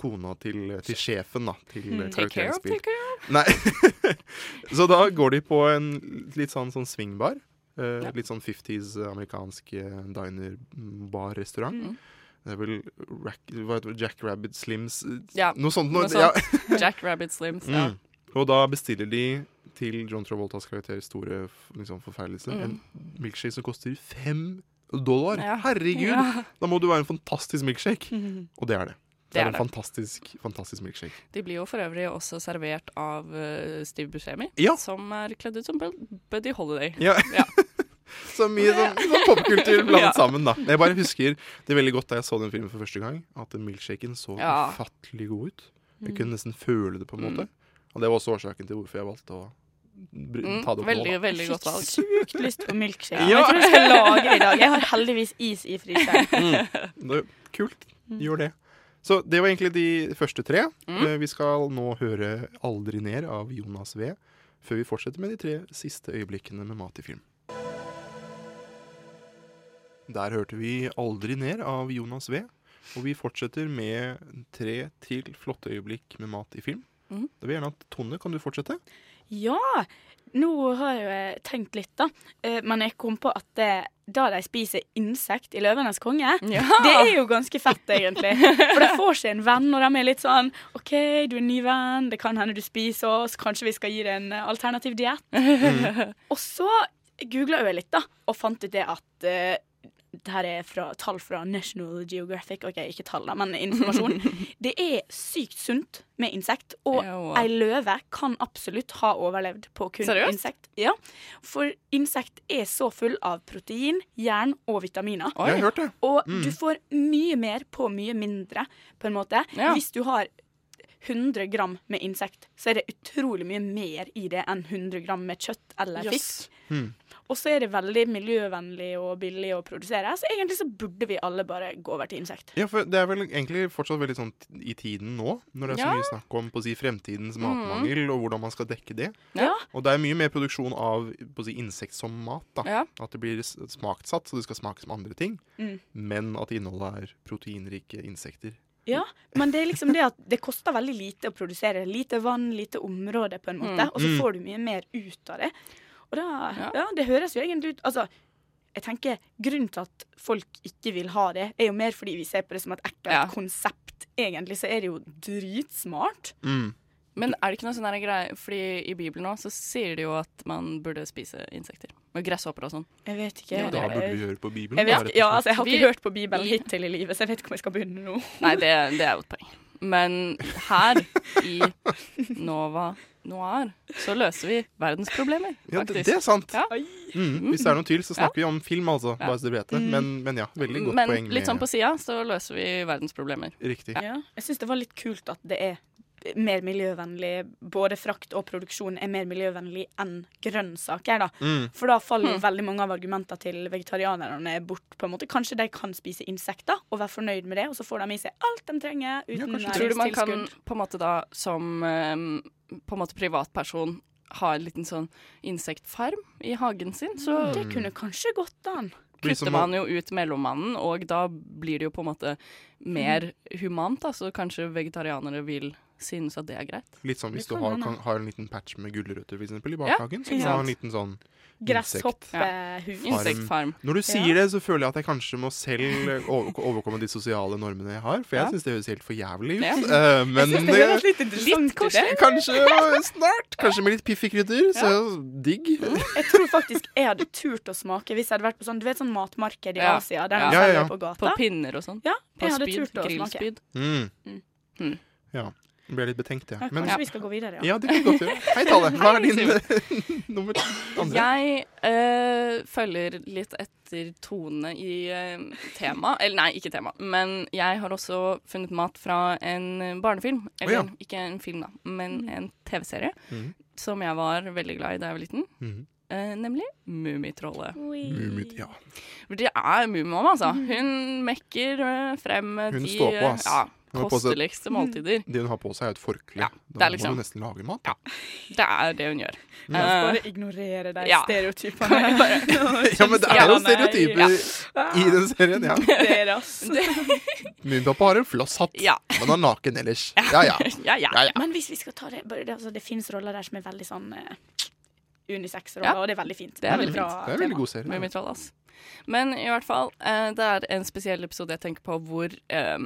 kona til, til sjefen, da. Til Mm. eh, Take care of, karakterens bil. take care Nei. så da går de på en litt sånn, sånn swingbar. eh, Litt sånn 50s amerikansk eh, diner-bar-restaurant. Mm. Det er vel rack, hva heter det, Jack Rabbit Slims eh, Ja. Noe sånt. noe Noe, ja. sånt. Jack Rabbit Slims, ja. Mm. Og da bestiller de til John Travoltas karakter store f- liksom, forferdelse Mm. en milkshake som koster fem dollar. Ja. Herregud! Ja. Da må du være en fantastisk milkshake. Mhm. Og det er det. Det, Det er, er en det. fantastisk, fantastisk milkshake. De blir jo for øvrig også servert av eh, Steve Buscemi, Ja. som er kledd ut som Bu- Buddy Holiday. Ja. Så mye sånn, sånn popkultur blandet sammen, da. Jeg bare husker det veldig godt da jeg så den filmen for første gang, at milkshaken så Ja. ufattelig god ut. Mm. Jeg kunne nesten føle det, på en måte. Og det var også årsaken til hvorfor jeg valgte å br- Mm, ta det opp nå. veldig, da. veldig godt valg. Sykt lyst på milkshake. Ja. Jeg tror jeg skal lage i dag. Jeg har heldigvis is i fryseren. Mm. Det, kult. Gjør det. Så det var egentlig de første tre. Mm. Eh, Vi skal nå høre 'Aldri ned' av Jonas V. Før vi fortsetter med de tre siste øyeblikkene med mat i film. Der hørte vi 'Aldri ned' av Jonas V. Og vi fortsetter med tre til flotte øyeblikk med mat i film. Mm. Da vil jeg gjerne at Tone, kan du fortsette? Ja! Nå har jeg jo eh, tenkt litt, da. Eh, Men jeg kom på at eh, da de spiser insekt i 'Løvenes konge', det er jo ganske fett, egentlig. For de får seg en venn, og de er litt sånn OK, du er en ny venn, det kan hende du spiser oss, kanskje vi skal gi deg en eh, alternativ diett. Mhm. Og så googla jeg litt, da, og fant ut det at eh, det her er fra, tall fra National Geographic. OK, ikke tall, da, men informasjon. Det er sykt sunt med insekt, og Jo. ei løve kan absolutt ha overlevd på kun Seriøst? insekt. Ja, for insekt er så full av protein, jern og vitaminer. Oi. Jeg har hørt det. Og Mm. du får mye mer på mye mindre, på en måte. Ja. Hvis du har 100 gram med insekt, så er det utrolig mye mer i det enn 100 gram med kjøtt eller Jøss. fisk. Mm. Og så er det veldig miljøvennlig og billig å produsere, så egentlig så burde vi alle bare gå over til insekt. Ja, for Det er vel egentlig fortsatt veldig sånn t- i tiden nå, når det er så Ja. mye snakk om på å si, Mm. fremtidens matmangel og hvordan man skal dekke det. Ja. Og det er mye mer produksjon av på å si, insekt som mat. da. Ja. At det blir s- smaktsatt, så det skal smake som andre ting. Mm. Men at innholdet er proteinrike insekter. Ja, men det er liksom det at det koster veldig lite å produsere. Lite vann, lite område, på en måte. Mm. Og så Mm. får du mye mer ut av det. Og da Ja, det høres jo egentlig ut Altså, jeg tenker grunnen til at folk ikke vil ha det, er jo mer fordi vi ser på det som et ekkelt Ja. konsept. Egentlig så er det jo dritsmart. Men er det ikke noe sånn her greie Fordi i Bibelen nå så sier de jo at man burde spise insekter. Og gresshopper og sånn. Jeg vet ikke. Ja, da burde vi høre på Bibelen. Jeg da, rett vet, og ja, slett. altså, jeg har ikke Vi- hørt på Bibelen hittil i livet, så jeg vet ikke om jeg skal begynne nå. Nei, det, det er jo et poeng. Men her i Nova Noir så løser vi verdens problemer, faktisk. Ja, det- det er sant. Ja. Mm. Hvis det er noen tvil, så snakker vi om film, altså. Ja. Bare så dere vet det. Mm. Men, men ja, veldig godt Men poeng. eh. med- litt sånn på sida så løser vi verdens problemer. Riktig. Ja. Jeg syns det var litt kult at det er mer miljøvennlig Både frakt og produksjon er mer miljøvennlig enn grønnsaker. da. Mm. For da faller jo Mm. veldig mange av argumentene til vegetarianerne bort. på en måte. Kanskje de kan spise insekter og være fornøyd med det, og så får de i seg alt de trenger uten Tror du man kan næringstilskudd. på en måte da som eh, på en måte privatperson ha en liten sånn insektfarm i hagen sin? Så Det kunne kanskje gått an. Blir som kutter man jo ut mellommannen, og da blir det jo på en måte mer humant. Da, så kanskje vegetarianere vil synes at det er greit. Litt sånn hvis Det du kan har, hende. kan, har en liten patch med gulrøtter for eksempel, i Ja, bakhagen. så ikke kan du ha sant. en liten sånn Gresshoppehus. farm. Når du sier det, så føler jeg at jeg kanskje må selv eh, o- overkomme de sosiale normene jeg har, for jeg Ja. synes syns det høres helt for jævlig ut. Ja. Eh, men Jeg synes det høres litt interessant ut, kanskje, det. kanskje snart. Kanskje med litt piffikrydder. Så digg. Jeg tror faktisk jeg hadde turt å smake hvis jeg hadde vært på sånn du vet sånn matmarked i Ja. Asia. Der Ja. de Ja, ja, selger ja. på gata. På pinner og sånn. Ja, På jeg hadde spyd, turt å grillspyd. Mm. Mm. Ja. Nå ble jeg litt betenkt, jeg. Ja, kanskje vi skal gå videre, ja. ja. det kan vi godt gjøre. Hei, Tale. Hva er din nummer andre? Jeg eh, følger litt etter tone i eh, tema. Eller nei, ikke tema. Men jeg har også funnet mat fra en barnefilm. Å Eller ja. ikke en film, da, men Mm. en TV-serie. Mm. Mhm. Som jeg var veldig glad i da jeg var liten. Mhm. Eh, nemlig Mummitrollet. Mumit, ja. For Det er Mummimamma, altså. Hun mekker eh, frem eh, Hun de står på, ass. eh, ja, Hun har på seg- kosteligste måltider. Det hun har på seg, er et forkle. det da er må liksom- du nesten lage mat. Det er det hun gjør. Mm. Jeg skal Eh, bare ignorere de ja. stereotypene. Ja, men det er jo Ja, nei. stereotyper Ja. i den serien, ja. altså. Mummipappa har en floss hatt, Ja. men han er naken ellers. Ja, ja. Ja, ja. Men hvis vi skal ta det bare det, altså, det fins roller der som er veldig sånn eh, unisex-roller, Ja. og det er veldig fint. Det er Veldig veldig bra fint. Det er en veldig god serie. Mummi Troll, ass. Men i hvert fall, eh, det er en spesiell episode jeg tenker på hvor eh,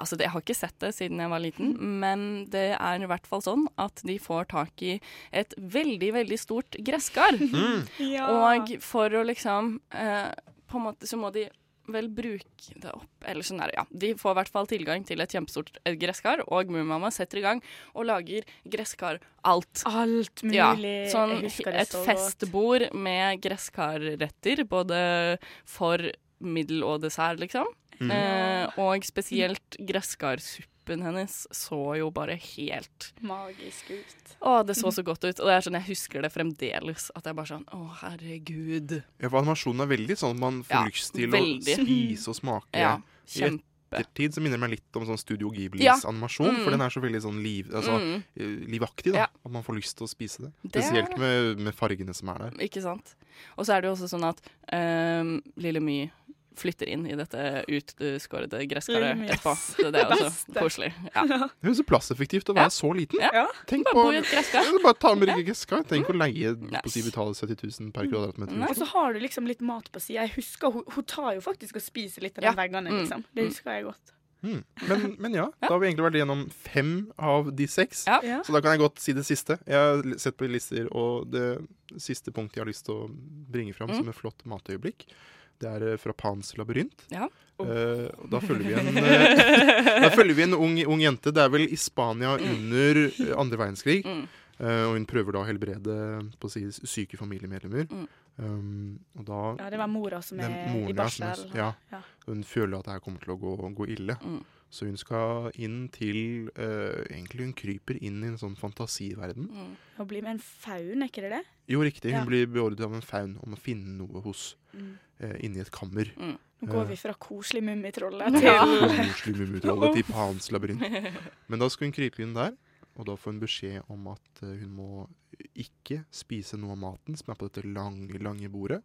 Altså, jeg har ikke sett det siden jeg var liten, men det er i hvert fall sånn at de får tak i et veldig, veldig stort gresskar. Mm. Ja. Og Ah. for å liksom eh, På en måte så må de vel bruke det opp, eller sånn er det, ja. De får i hvert fall tilgang til et kjempestort eh, gresskar, og Mummimamma setter i gang og lager gresskar alt. Alt mulig. Ja, sånn Jeg husker det et så godt. festbord med gresskarretter, både for middel og dessert, liksom. Mm. Eh, og spesielt Mm. gresskarsuppen hennes så jo bare helt Magisk ut. Å, det Mm. så så godt ut. Og det er sånn, jeg husker det fremdeles. At jeg bare sånn Å, herregud. Ja, for animasjonen er veldig sånn at man får Ja, lyst til veldig. å spise og smake. Ja, I kjempe. ettertid så minner det meg litt om sånn Studio Ghiblis Ja. animasjon, Mm. for den er så veldig sånn liv, altså, Mm. eh, livaktig, da. Ja. At man får lyst til å spise det. Det er Spesielt det. med, med fargene som er der. Ikke sant. Og så er det jo også sånn at ehm, Lille My flytter inn i dette utskårede Lille gresskaret My, etterpå. ass. Så det er Det også beste. koselig. Ja. Det høres så plasseffektivt å være så liten. Ja. Tenk Bare på bo i Mm. et gresskar. Ja, Bare ta med deg gresskar. Tenk å leie på si Nice. betale 70 000 per kvadratmeter. i Mm. Og Oslo. så har du liksom litt mat på sida. Jeg husker hun, hun tar jo faktisk og spiser litt av de Ja. veggene, Mm. liksom. Det Mm. husker jeg godt. Mm. Men, men ja, da har vi egentlig vært igjennom fem av de seks. Ja. Ja. Så da kan jeg godt si det siste. Jeg har li- sett på lister, og det siste punktet jeg har lyst til å bringe fram Mm. som et flott matøyeblikk, det er eh, fra Pans labyrint. Ja. Eh, og da følger vi en, eh, da følger vi en ung, ung jente. Det er vel i Spania under eh, andre verdenskrig. Mm. Eh, og hun prøver da å helbrede på å si, syke familiemedlemmer. Mm. Um, og da Ja, det var mora som det er i moren der som barsel. er- Ja. Ja. Hun føler at det her kommer til å gå, gå ille. Mm. Så hun skal inn til eh, Egentlig hun kryper inn i en sånn fantasiverden. Mm. Å bli med en faun, er ikke det det? Jo, riktig. Hun Ja. blir beordret av en faun om å finne noe hos Mm. eh, inni et kammer. Nå går vi fra koselig mummitrollet til Koselig mummitrollet til Pans labyrint. Men da skal hun krype inn der, og da får hun beskjed om at eh, hun må ikke spise noe av maten som er på dette lange, lange bordet.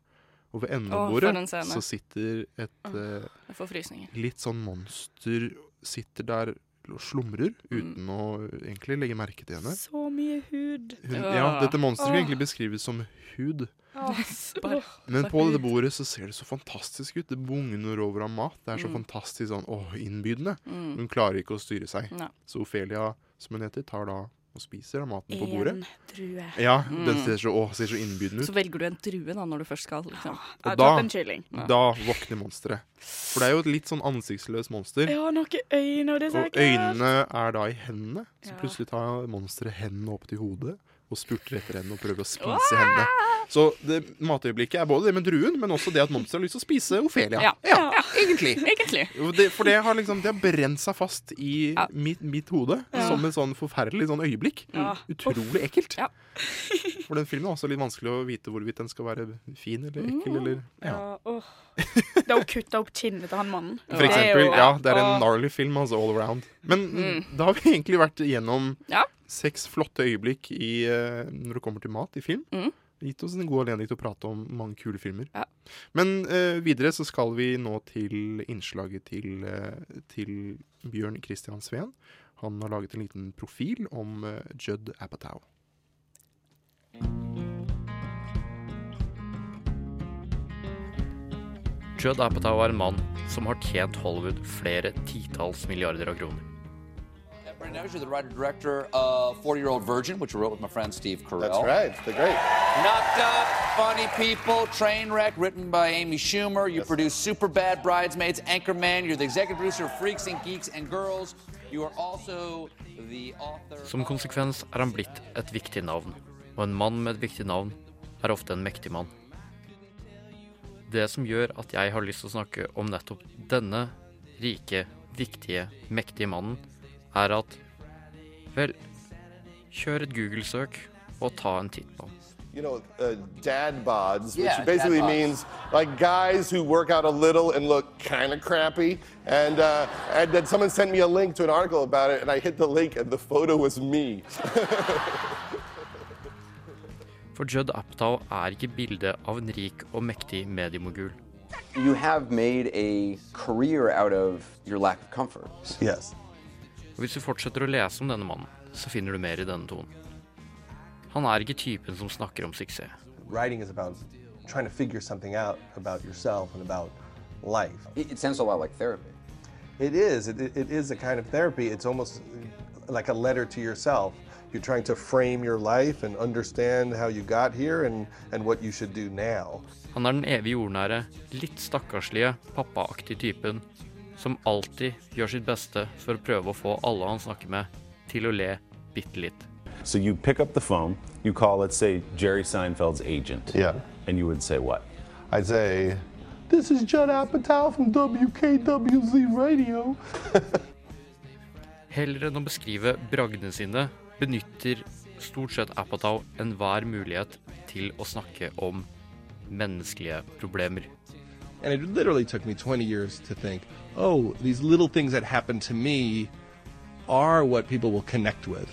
Og ved enden Åh, av for bordet en scene. så sitter et Åh, eh, jeg får frysninger. litt sånn monster sitter der og slumrer Mm. uten å egentlig legge merke til henne. Så mye hud. Hun, ja, dette monsteret kan egentlig beskrives som hud. Åh. Men på dette bordet så ser det så fantastisk ut. Det bugner over av mat. Det er så Mm. fantastisk sånn åh, innbydende. Mm. Hun klarer ikke å styre seg. Nei. Så Ofelia, som hun heter, tar da og spiser av maten på En bordet. drue. Ja, den Mm. ser så, åh, ser så innbydende ut. Så velger du en drue da når du først skal, liksom. Og da, da våkner monsteret. For det er jo et litt sånn ansiktsløst monster. Ja, noen øyne, og det er så Og ekkelt. øynene er da i hendene. Så Ja. plutselig tar monsteret hendene opp til hodet og spurter etter henne og prøver å spise henne. Så det matøyeblikket er både det med druen, men også det at monsteret har lyst til å spise Ofelia. Ja. egentlig. Egentlig. Jo, Det, for det har liksom Det har brent seg fast i mitt, mitt hode Ja. som et sånn forferdelig sånn øyeblikk. Ja. Utrolig ekkelt. For den filmen er også litt vanskelig å vite hvorvidt den skal være fin eller ekkel eller ja. åh. Da hun kutta opp kinnet til han mannen. For eksempel. Ja, det er en narr. gnarly film, altså, all around. Men Mm. da har vi egentlig vært gjennom Ja. seks flotte øyeblikk i, eh, når det kommer til mat i film. Mm. Gitt oss en god anledning til å prate om mange kule filmer. Men eh, videre så skal vi nå til innslaget til, eh, til Bjørn Christian Sveen. Han har laget en liten profil om eh, Judd Apatow. Judd Apatow er en mann som har tjent Hollywood flere titalls milliarder av kroner. Brandon Evans, you're the writer director of 40 Year Old Virgin, which we wrote with my friend Steve Carell. That's right. The great. Knocked Up, Funny People, Trainwreck, written by Amy Schumer. You produced Super Bad, Bridesmaids, Anchorman. You're the executive producer of Freaks and Geeks and Girls. You are also the author. Som konsekvens er han blitt et viktig navn, og en mann med et viktig navn er ofte en mektig mann. Det som gjør at jeg har lyst til å snakke om nettopp denne rike, viktige, mektige mannen, er at Vel, kjør et Google-søk og ta en titt på ham. You know, uh, dad bods, which Yeah, dad basically bods. means like guys who work out a little and look kind of crappy. And uh, and then someone sent me a link to an article about it, and I hit the link, and the photo was me. For Judd Apatow er ikke bildet av en rik og mektig mediemogul. You have made a career out of your lack of comfort. Og hvis du fortsetter å lese om denne mannen, så finner du mer i denne tonen. Han er ikke typen som snakker om suksess. Writing is about trying to figure something out about yourself and about life. It, sounds a lot like therapy. It is. It, it is a kind of therapy. It's almost like a letter to yourself. You're trying to frame your life and understand how you got here and, and what you should do now. Han er den evig jordnære, litt stakkarslige, pappaaktige typen som alltid gjør sitt beste for å prøve å få alle han snakker med, til å le bitte litt. So you pick up the phone, you call, let's say, Jerry Seinfeld's agent. Yeah. And you would say what? I'd say, This is Judd Apatow from WKWZ Radio. Heller enn å beskrive bragdene sine, benytter stort sett Apatow enhver mulighet til å snakke om menneskelige problemer. And it literally took me 20 years to think, oh, these little things that happen to me are what people will connect with.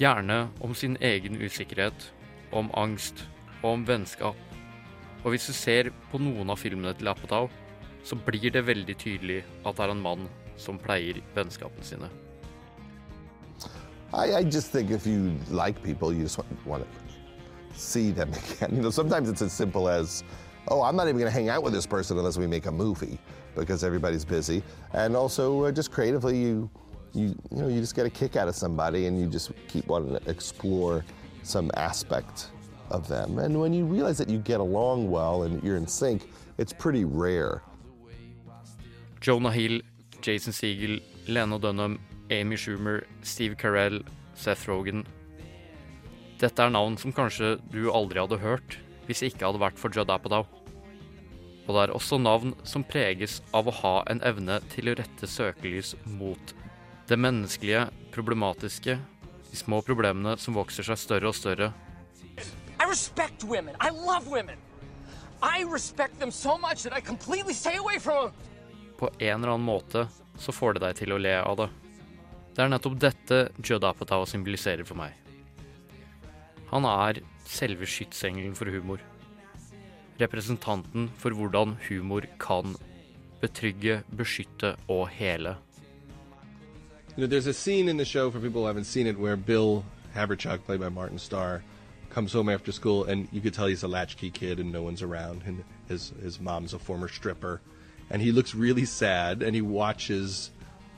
Gjerne om sin egen usikkerhet, om angst og om vennskap. Og hvis du ser på noen av filmene til Apatow, så blir det veldig tydelig at det er en mann som pleier vennskapene sine. I, I just think if you like people, you just want, want to see them again. You know, sometimes it's as simple as, oh, I'm not even going to hang out with this person unless we make a movie because everybody's busy. And also, uh, just creatively, you, you, you know, you just get a kick out of somebody and you just keep wanting to explore some aspect of them. And when you realize that you get along well and you're in sync, it's pretty rare. Jonah Hill, Jason Segel, Lena Dunham, Amy Schumer, Steve Carell, Seth Rogen. Dette er navn som kanskje du aldri hadde hørt hvis det ikke hadde vært for Judd Apatow. Og det er også navn som preges av å ha en evne til å rette søkelys mot det menneskelige, problematiske, de små problemene som vokser seg større og større. I respect women. I love women. I respect them so much that I completely stay away from them. På en eller annen måte så får det deg til å le av det. Det er nettopp dette Judd Apatow symboliserer for meg. Han er selve skytsengelen for humor. Representanten for hvordan humor kan betrygge, beskytte og hele. You know, there's a scene in the show for people who haven't seen it where Bill Haverchuck, played by Martin Starr, comes home after school and you could tell he's a latchkey kid and no one's around and his his mom's a former stripper, and he looks really sad and he watches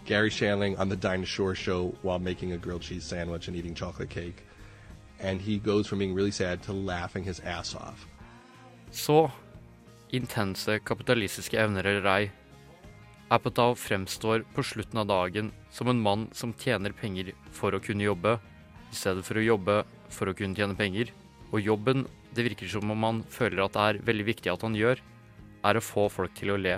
Gary Shandling on the Dinah Shore show while making a grilled cheese sandwich and eating chocolate cake, and he goes from being really sad to laughing his ass off. Så intense kapitalistiske evner eller ei, Apatow fremstår på slutten av dagen som en mann som tjener penger for å kunne jobbe, i stedet for å jobbe for å kunne tjene penger. Og jobben det virker som om han føler at det er veldig viktig at han gjør, er å få folk til å le.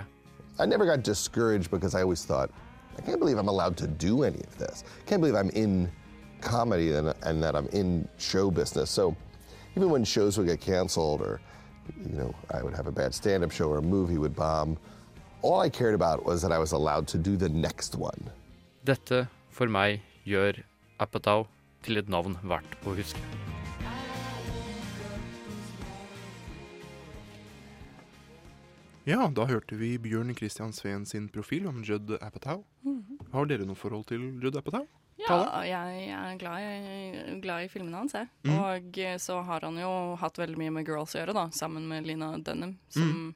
I never got discouraged because I always thought, I can't believe I'm allowed to do any of this. I can't believe I'm in comedy and, and that I'm in show business. So even when shows would get canceled or, you know, I would have a bad stand up show or a movie would bomb, all I cared about was that I was allowed to do the next one. Dette, for meg, gjør Apatow til et navn verdt å huske. Ja, da hørte vi Bjørn Christian Sveen sin profil om Judd Apatow. Mhm. Har dere noe forhold til Judd Apatow? Ja, Tale? jeg er glad, i- glad i filmene hans, jeg. Mhm. Og eh, så har han jo hatt veldig mye med Girls å gjøre, da, sammen med Lina Dunham, Mm. som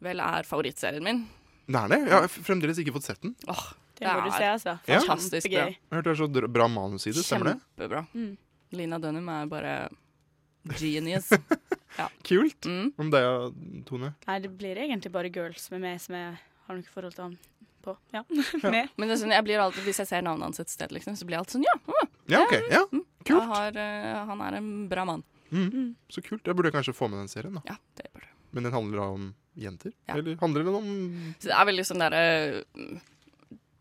vel er favorittserien min. Det er det. Jeg har f- fremdeles ikke fått sett den. Det må du se, altså. Ja. Fantastisk bra. Jeg hørte det er så dr- bra manus i det. Stemmer det? Kjempebra. Lina Dunham er bare genius. Mm. ja. Kult. Om det, Tone? Nei, det blir egentlig bare girls med meg som jeg har noe forhold til han på. Ja. Med. Men det er sånn, jeg blir alltid, hvis jeg ser navnet hans et sted, liksom, så blir jeg alltid sånn ja. ah, Ja, OK. Ja. Jeg har, eh, han er en bra mann. Mm. Så kult. Jeg burde kanskje få med den serien, da. Ja, det burde Men den handler da om jenter? Eller handler den om Så det er veldig sånn derre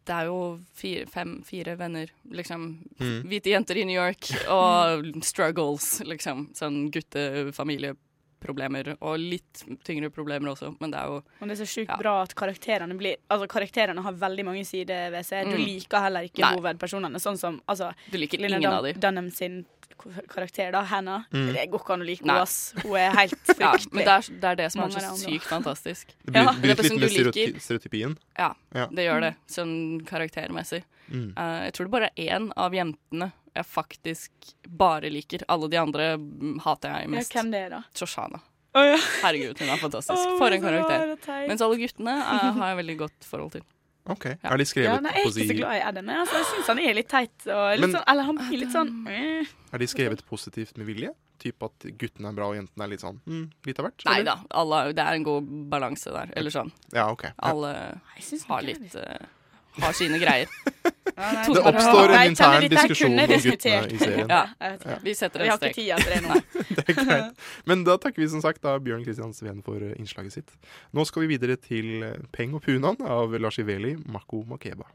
Det er jo fire, fem, fire venner, liksom. Mm. Hvite jenter i New York og struggles, liksom. Sånn guttefamilieproblemer og litt tyngre problemer også, men det er jo Og det er så sjukt bra at karakterene blir Altså, karakterene har veldig mange sider ved seg. Du Mm. liker heller ikke Nei. hovedpersonene, sånn som altså Du liker Lena ingen Dun- av de. Dunham sin k- karakter, da, Hannah. Mm. Det går ikke an å like Nei. henne, ass. Hun er helt Ja, fryktelig. men det er, det er det som er Mange så av de andre. sykt fantastisk. Det bryter, Ja. bryter Det er litt med personen du liker. stereoty- stereotypien. Ja, Ja. det gjør Mm. det, sånn karaktermessig. Mm. Eh, jeg tror det bare er én av jentene jeg faktisk bare liker. Alle de andre mm, hater jeg Ja, mest. hvem det er da? Shoshana. Å, ja. Herregud, hun er fantastisk. Å, For en så rar karakter. og teit. Mens alle guttene eh, har jeg veldig godt forhold til. OK. Er de skrevet ja, nei, jeg på er ikke så glad i Adam. jeg, Altså, jeg syns han er litt teit. Og litt Men- sånn, eller han blir litt sånn eh. Er de skrevet positivt med vilje? Typ at guttene er bra og jentene er litt sånn mm, litt av hvert? Nei eller? da, alle, det er en god balanse der. Eller sånn. Ja, ok. Ja. Alle har litt eh, Har sine greier. nei, Det oppstår en Nei, jeg kjenner intern litt, jeg diskusjon kunne om diskutert guttene i serien. Ja. Jeg vet ikke. Vi setter en Vi har ikke strek. tid til det nå. Nei. Det er greit. Men da takker vi som sagt da Bjørn Kristian Sveen for eh, innslaget sitt. Nå skal vi videre til eh, Peng og Punan av Lars Iveli, Mako Makeba.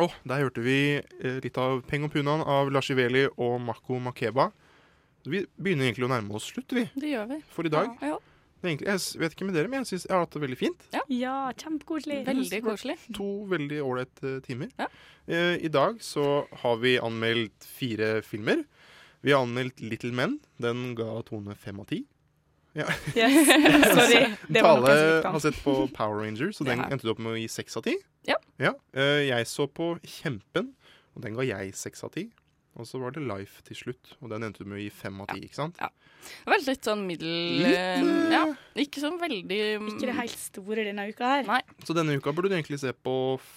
Å, der hørte vi eh, litt av Peng og Punan av Lars Iveli og Mako Makeba. Vi begynner egentlig å nærme oss slutt, vi. Det gjør vi. For i dag. Ja, ja. Det er egentlig, jeg s- vet ikke med dere, men jeg synes jeg har hatt det veldig fint. Ja, kjempekoselig. Veldig koselig. To veldig ålreite timer. Eh, I dag så har vi anmeldt fire filmer. Vi har anmeldt Little Men. Den ga Tone fem av ti. Ja. Yes. Sorry, det var noen som Tale altså- likte den. har sett på Power Rangers, og den Ja. endte du opp med å gi seks av ti. Ja. Eh, Jeg så på Kjempen, og den ga jeg seks av ti. Og så var det Life til slutt, og den endte du med å gi fem av ti. ikke sant? Det var litt sånn middel Litt, eh, ja. Ikke sånn veldig Ikke det helt store denne uka her. Nei. Så denne uka burde du egentlig se på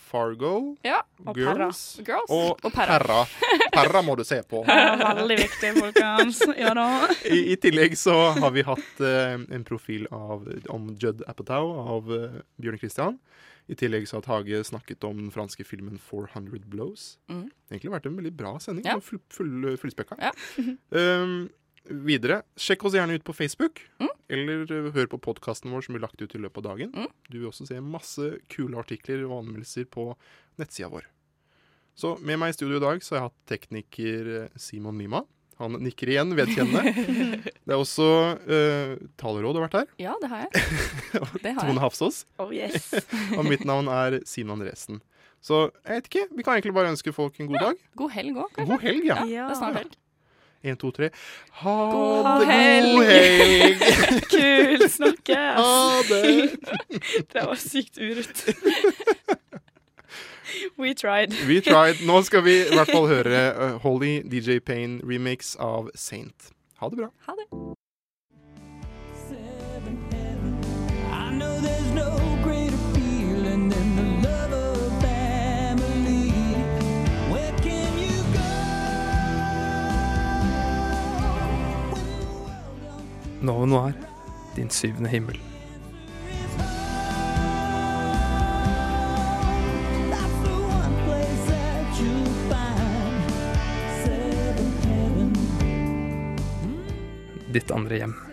Fargo, Ja. Og Girls, Perra. Girls og, og Perra. Perra. Perra må du se på. Ja, veldig viktig, folkens. Ja da. I, I tillegg så har vi hatt eh, en profil av, om Judd Apatow av eh, Bjørn Christian. I tillegg så har Tage snakket om den franske filmen 400 Blows. Mm. Egentlig vært en veldig bra sending. Ja. og Full, full, eh, fullspekka. Um, videre, sjekk oss gjerne ut på Facebook, Mm. eller eh, hør på podkasten vår som blir lagt ut i løpet av dagen. Du vil også se masse kule artikler og anmeldelser på nettsida vår. Så med meg i studio i dag så har jeg hatt tekniker eh, Simon Lima. Han nikker igjen, vedkjennende. Det er også uh, taleråd har vært her. Ja, det har jeg. Det har Tone jeg. Hafsås. Oh, yes. og mitt navn er Simen Andresen. Så jeg vet ikke. Vi kan egentlig bare ønske folk en god dag. God helg òg, kanskje. God helg, ja. Det er snart helg. En, to, tre. Ha God det god helg. helg! Kult. Snakkes. Ha det. det var sykt urutt. We tried. We tried. Nå skal vi i hvert fall høre eh, Holly DJ Payne remix av Saint. Ha det bra. I know there's no greater feeling than the love of family. Where can you Nova Noir, er din syvende himmel. go? That's the one place that you'll find ditt andre hjem.